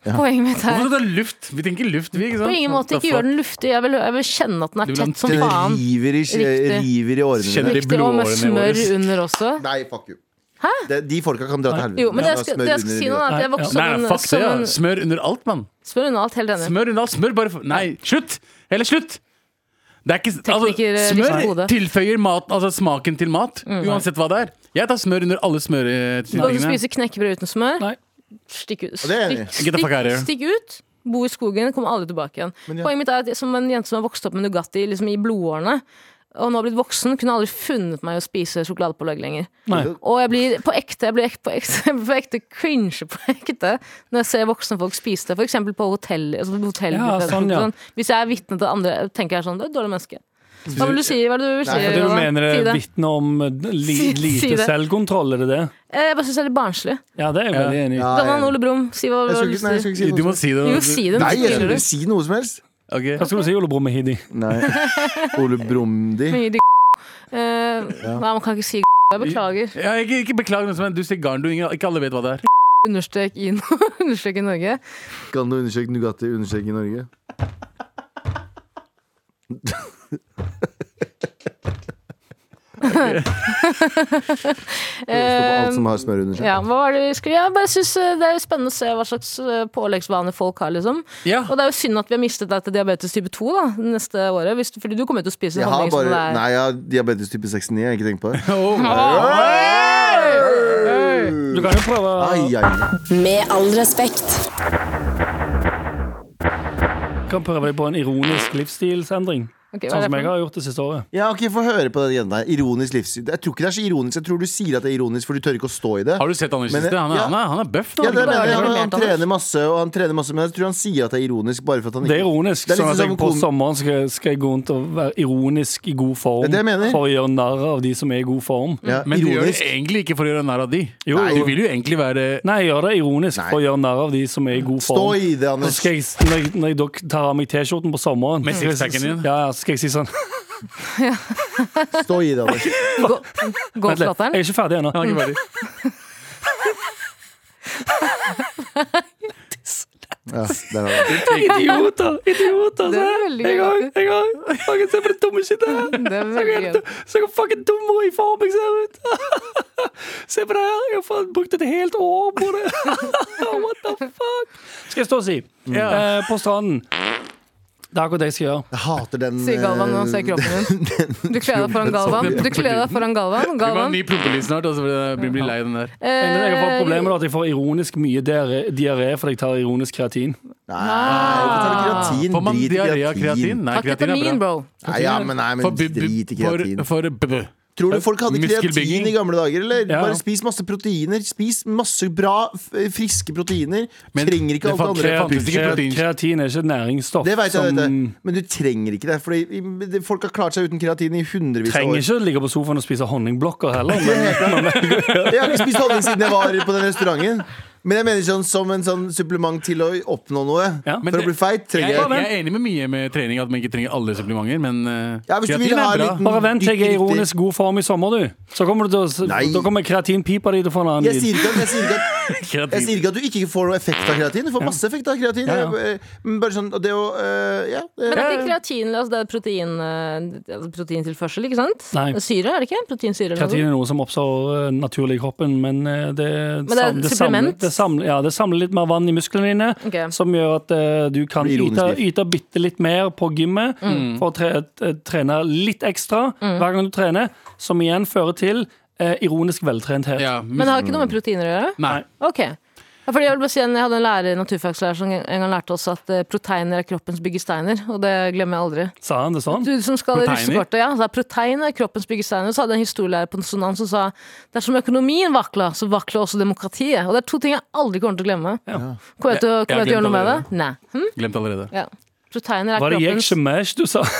S5: Poenget mitt
S6: Hvorfor
S5: er
S6: skal du ha luft? Vi tenker luft, vi. ikke sant?
S5: på ingen måte ikke gjør den luftig. Jeg vil, jeg vil kjenne at den
S6: Du
S5: er
S6: vil ha den
S5: tett som
S3: Den
S5: faen.
S3: river i,
S5: Riktig.
S3: river i årene dine.
S6: Kjenner de
S5: Riktig, og med
S6: blodårene
S5: smør
S6: våre.
S5: under også.
S3: Nei, fuck you. Det, de folka kan dra til helvete.
S5: Jo, men det jeg
S3: Ja,
S5: skal,
S3: smør
S5: det jeg skal
S3: under
S5: si nå, er at jeg
S4: Nei,
S5: vokste
S6: Nei,
S5: opp
S6: nei,
S5: med
S6: fuck det.
S5: som
S6: Ja.
S5: en
S6: Smør under alt, mann.
S5: Smør under alt, helt enig.
S6: Smør under alt. Smør bare for Nei, slutt! Eller slutt! Det er ikke,
S5: Tekniker, eh, rister
S6: altså,
S5: på
S6: smør
S5: hodet. Mm.
S6: tilføyer mat, altså smaken til mat, uansett hva det er. Jeg tar smør under alle
S5: Skal du
S6: smørtingene.
S5: spise knekkebrød uten smør?
S4: Nei.
S5: Stikk ut.
S3: det er jeg enig i.
S5: Stikk,
S6: Get the fuck out of
S5: stikk,
S6: here.
S5: stikk ut. Bo i skogen, kom aldri tilbake igjen.
S3: Men ja.
S5: Poenget mitt er at jeg- som en jente som har vokst opp med Nugatti liksom i blodårene, og nå har blitt voksen, kunne aldri funnet meg å spise sjokoladepålegg lenger.
S4: Nei.
S5: Og jeg blir på ekte jeg blir ek- på ekte, jeg blir på ekte cringe på ekte når jeg ser voksne folk spise det, f.eks. på hotell. Altså hotell
S4: Ja, sånn, ja.
S5: Hvis jeg er vitne til andre, tenker jeg sånn Det er et dårlig menneske. Hva vil du si? Hva er det du vil si?
S3: Nei,
S4: Det du
S5: Johan?
S4: mener
S5: Si
S4: er
S5: det.
S4: vitner om eh, li,
S5: Si- si
S4: lite
S5: det.
S4: selvkontroll, er det det?
S5: Eh, Jeg bare syns det er litt barnslig.
S4: Ja, det er jeg veldig enig i.
S3: Ah, Ja,
S5: Gammal
S3: jeg,
S5: Ole Brumm, si hva du
S3: jeg skulle
S5: vil
S3: ikke, nei, jeg
S5: si.
S3: skulle ikke si
S6: Du
S3: noe.
S6: må si det.
S5: Jo, si det.
S3: Nei, jeg
S5: Sier
S3: skulle ikke
S5: du.
S3: si noe som helst.
S6: Ok.
S4: Hva skal du si, Ole Brumm Hidi?
S3: Nei. Ole Brumdi.
S5: Mye digg. Eh, Nei, man kan ikke si jeg beklager.
S6: Ja, ikke, ikke beklag noe som er- Du sier garn, du, Inger. Ikke alle vet hva det er.
S5: Understrek i no- understrek i Norge.
S3: Kan du understreke Nugatti understreke Norge? Det står på alt som har smør under seg.
S5: Ja, hva var det vi skulle Jeg bare synes eh, det er jo spennende å se hva slags eh, påleggsvaner folk har, liksom.
S6: Ja.
S5: Og det er jo synd at vi har mistet deg til diabetes type 2 da, det neste året. Hvis, du- fordi du kommer jo til å spise
S3: Jeg
S5: sånne
S3: har
S5: ting som
S3: bare
S5: det er.
S3: Nei, jeg har diabetes type 69. Jeg har ikke tenkt på det.
S4: Du kan jo prøve
S3: Ai, ai, ai.
S8: Med all respekt.
S4: kan prøve deg på en ironisk livsstilsendring.
S5: Ok, hva
S4: Sånn
S5: er det
S4: som
S5: for
S4: jeg
S5: noe?
S4: har gjort det siste året.
S3: Ja, ok, Få høre på det igjen. der Ironisk livssyn. Jeg tror ikke det er så ironisk. Jeg tror du sier at det er ironisk, for du tør ikke å stå i det.
S6: Har du sett Anders
S3: Men-
S6: siste? Han er,
S3: ja.
S6: han er, han er bøff nå.
S3: Ja, det mener jeg. Han,
S5: Har
S3: han
S5: du lært,
S3: trener masse, og han trener masse, men jeg tror han sier at det er ironisk bare for at han ikke
S4: Det er ironisk.
S3: Det er
S4: sånn
S3: litt
S4: at jeg
S3: som
S4: på
S3: kon-
S4: sommeren skal, skal jeg gå rundt og være ironisk i god form.
S3: Det er det jeg mener.
S4: For å gjøre narr av de som er i god form.
S3: Ja,
S6: Men du gjør det
S3: ironisk.
S6: egentlig ikke for å gjøre narr av de.
S4: Jo.
S6: Nei, du vil jo egentlig være
S4: Nei, jeg gjør det ironisk for å gjøre narr av de som er i god form.
S3: Stå i det,
S4: Så
S3: Anders.
S4: skal jeg, når jeg, når jeg da tar av meg T-skjorten på sommeren
S6: Med sixpacken din?
S4: Ja, ja, så skal jeg si sånn
S3: Stå i det, Anders.
S5: Gå, gå
S4: Vent
S5: til
S4: litt, jeg
S5: latteren.
S4: er ikke ferdig ennå.
S6: Han er ikke ferdig.
S3: Ja, der har du det.
S4: Idioter! Idioter!
S5: Det
S4: Se.
S5: er veldig
S4: Jeg
S5: gøy.
S4: har, jeg har, jeg kan se på det dumme skittet her.
S5: Det er veldig gøy.
S4: Så jeg er fucking dummere i form jeg ser ut. Se på det her. Jeg har faen brukt et helt år på det. What the fuck? Skal jeg stå og si.
S6: Mm.
S4: Eh, på stranden. Det er akkurat det jeg skal gjøre.
S3: Jeg hater den
S5: Si Galvan nå, se
S3: eh,
S5: kroppen din. Du kler deg foran Galvan. Du kler deg foran Galvan.
S6: Du må ha en
S5: Galvan. eh,
S6: ny prompelyd snart, altså, og så blir- blir blir lei den der.
S4: Eneste jeg har fått problemer med, er at jeg får ironisk mye diaré- diaré fordi jeg tar ironisk kreatin.
S3: Nei, hvorfor tar du
S5: Ah.
S3: kreatin?
S6: Får man
S3: Drit i
S6: diaré av kreatin? Nei,
S5: Takk
S6: kreatin er
S5: vitamin,
S6: bra.
S5: bro.
S3: Nei, ja, men, nei, men
S6: For bu- bu-
S3: drit i kreatin.
S6: For, for bu-
S3: Tror du folk hadde kreatin
S6: Muskelbygging.
S3: i gamle dager, eller?
S4: Ja.
S3: Bare spis masse proteiner. Spis masse bra, f- friske proteiner.
S6: Men
S3: Trenger ikke
S6: det
S3: alt det
S6: fant-
S3: andre.
S6: fantes
S4: Kreatin,
S6: ikke protein.
S4: kreatin er ikke et næringsstoff
S3: Det vet jeg,
S4: som
S3: vet jeg. Men du trenger ikke det. Fordi i- det- folk har klart seg uten kreatin i hundrevis av
S4: trenger
S3: år.
S4: ikke å ligge på sofaen og spise honningblokker heller. Men,
S3: Jeg har ikke spist honning siden jeg var på den restauranten. Men jeg mener sånn som en sånn supplement til å oppnå noe.
S4: Ja.
S3: For
S6: Men
S3: å
S6: det-
S3: bli feit
S6: Jeg,
S3: trenger
S6: jeg
S3: jeg
S6: er enig med mye med trening, at man ikke trenger alle supplementer, men eh,
S3: Ja, hvis du vil
S6: kreatin
S3: ha en
S6: er bra.
S3: liten-
S4: bare vent til jeg er i ironisk god form i sommer, du. Så kommer, du til å, s-
S3: Nei.
S4: da kommer kreatinpipa di til å få en annen
S3: Jeg
S4: lyd.
S3: sier ikke at, jeg sier ikke at Jeg
S6: Kreatin.
S3: sier ikke at du ikke får noe effekt av kreatin. Du får masse effekt av kreatin.
S4: Ja, ja.
S3: Eh, Men bare sånn og det å eh, Ja. eh,
S5: Men det er ikke kreatin, altså det er protein, eh, altså proteintilførsel, ikke sant?
S4: Nei.
S5: Syre, er det ikke? Proteinsyre eller
S4: Kreatin
S5: noe?
S4: er noe som oppstår eh, naturlig i kroppen, men eh, det,
S5: Men det
S4: sam-
S5: er et
S4: samler,
S5: supplement?
S4: det, samler, ja, det samler litt mer vann i musklene dine,
S5: Ok.
S4: som gjør at eh, du kan
S3: Blir ironisk
S4: yte,
S3: liv.
S4: yte bitte litt mer på gymmet
S5: Mm.
S4: for å tre, eh, trene litt ekstra hver gang du trener, som igjen fører til eh, ironisk veltrenthet.
S6: Ja,
S5: Men det har ikke noe med proteiner å gjøre?
S6: Nei.
S5: Ok. Ja, fordi jeg, vil bare si, en- jeg hadde en lærer, naturfagslærer som en gang lærte oss at eh, proteiner er kroppens byggesteiner, og det glemmer jeg aldri.
S4: Sa han det sånn?
S5: Du som skal i
S6: Proteiner?
S5: russekortet, ja. Så er protein er kroppens byggesteiner. Så hadde jeg en historielærer på Sonan som sa dersom økonomien vakla, så vakler også demokratiet. Og det er to ting jeg aldri kommer til å glemme. Kommer jeg til å,
S6: Jeg- jeg
S5: kommer jeg til å gjøre noe med det?
S6: glemte
S5: Nei. Hm?
S6: Glemt allerede.
S5: Ja. Proteiner er
S4: Var det
S5: kroppens
S4: jeksjemesh du sa?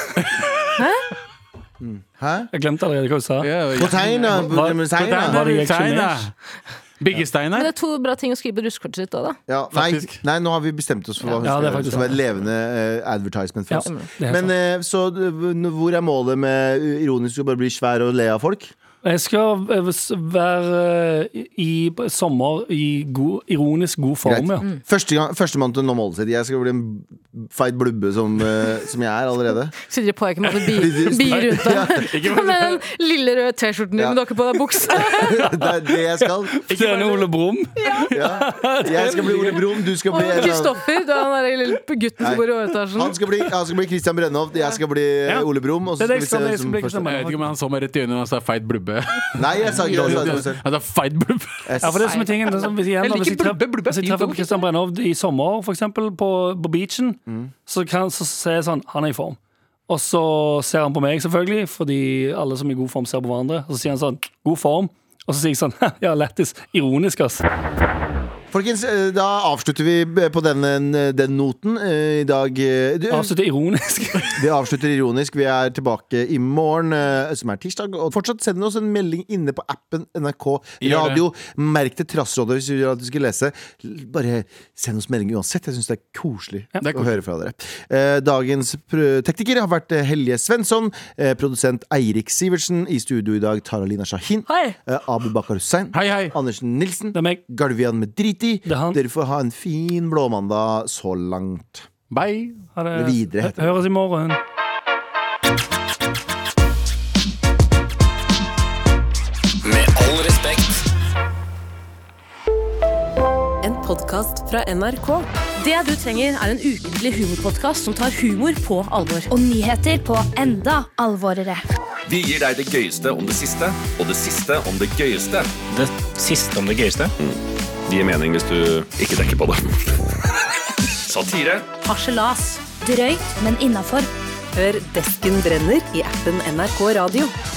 S3: Hæ?
S4: Jeg glemte allerede hva du sa.
S6: Ja, ja.
S3: Proteina. Proteina.
S4: Var det
S6: Steina.
S4: jeksjemesh?
S5: Men
S6: Biggesteiner.
S5: det er to bra ting å skrive på russekortet sitt òg, da.
S3: Ja, nei,
S6: Faktisk.
S3: nei, nå har vi bestemt oss for hva hun
S4: Ja,
S3: skal
S4: det er
S3: gjøre.
S4: faktisk
S3: Det var et
S4: sant.
S3: levende eh, advertisement for
S4: Ja,
S3: oss.
S4: det er helt
S3: Men eh, så eh, hvor er målet med eh, ironisk å bare bli svær og le av folk?
S4: Jeg skal eh, s- være eh, i på sommer i god, ironisk god form, ja.
S3: Første gang- Førstemann til å nå målet sitt. Jeg skal bli en feit blubbe som, eh, som jeg er allerede.
S5: Sitter i parken med bi, bi rundt deg. Med den lille røde T-skjorten din,
S3: Ja.
S5: men du har ikke på deg bukse.
S3: Det er det jeg skal.
S4: Stjerne Ole Brumm.
S3: Ja. Jeg skal bli Ole Brumm, du skal bli en eller annen-
S5: Kristoffer, du er han der lille gutten som bor i
S3: han
S5: overetasjen.
S3: skal bli, han skal bli Christian Brennhoft, jeg skal bli eh,
S4: Ja.
S3: Ole Brumm. og så
S4: Det er det jeg
S3: skal vi
S4: skal bli,
S3: se
S4: jeg
S3: hvem
S4: skal
S3: som
S4: bli Christian
S3: først-
S4: Berg.
S6: Jeg vet ikke om han så meg rett i øynene og sa feit blubbe.
S3: Nei, jeg sa ikke det. jeg sa ikke det.
S6: Han sa feit blubbe.
S4: Ja, for det som er tingen det som, hvis, igjen,
S6: Jeg
S4: da, hvis jeg
S6: liker
S4: treffer,
S6: blubbe, blubbe er
S4: hvis jeg
S6: fint
S4: treffer
S6: ord.
S4: på Christian Brennhovd i sommer, for eksempel, på, på beachen,
S6: Mm.
S4: så, kan, så ser jeg sånn Han er i form. Og så ser han på meg, selvfølgelig, fordi alle som er i god form, ser på hverandre. Og så sier han sånn God form. Og så sier jeg sånn Ja, lættis. Ironisk, ass.
S3: Folkens, eh, da avslutter vi b- på den, den noten eh, i dag. eh, du-
S4: Avslutte ironisk.
S3: Vi avslutter ironisk. Vi er tilbake i morgen, eh, som er tirsdag. Og fortsatt send oss en melding inne på appen NRK
S6: Gjør det.
S3: Radio. Merk til Trassrådet hvis du vil at du skal lese. L- Bare send oss melding uansett. Jeg syns det er koselig
S6: Det er
S3: å høre fra dere. Eh, Dagens pr- tekniker har vært eh, Helje Svensson. eh, Produsent Eirik Sivertsen. I studio i dag Taralina Shahin.
S5: Hei.
S3: eh, Abu Bakar Hussein.
S6: Hei, hei.
S3: Andersen Nilsen.
S4: Det er meg.
S3: Galvian Medriti.
S4: er han.
S3: Dere får ha en fin blåmandag så langt.
S6: Bye.
S4: Ha det.
S3: Videre heter det.
S4: Høres i morgen.
S2: Med all respekt.
S8: En podkast fra NRK.
S5: Det du trenger, er en ukentlig humorpodkast som tar humor på alvor.
S9: og nyheter på enda alvorere.
S10: Vi gir deg det gøyeste om det siste, og det siste om det gøyeste. Mm.
S11: Det siste om det gøyeste.
S10: Det gir mening hvis du ikke tenker på det. Satire.
S5: Harselas.
S9: Drøyt, men innafor.
S8: Hør Desken brenner i appen NRK Radio.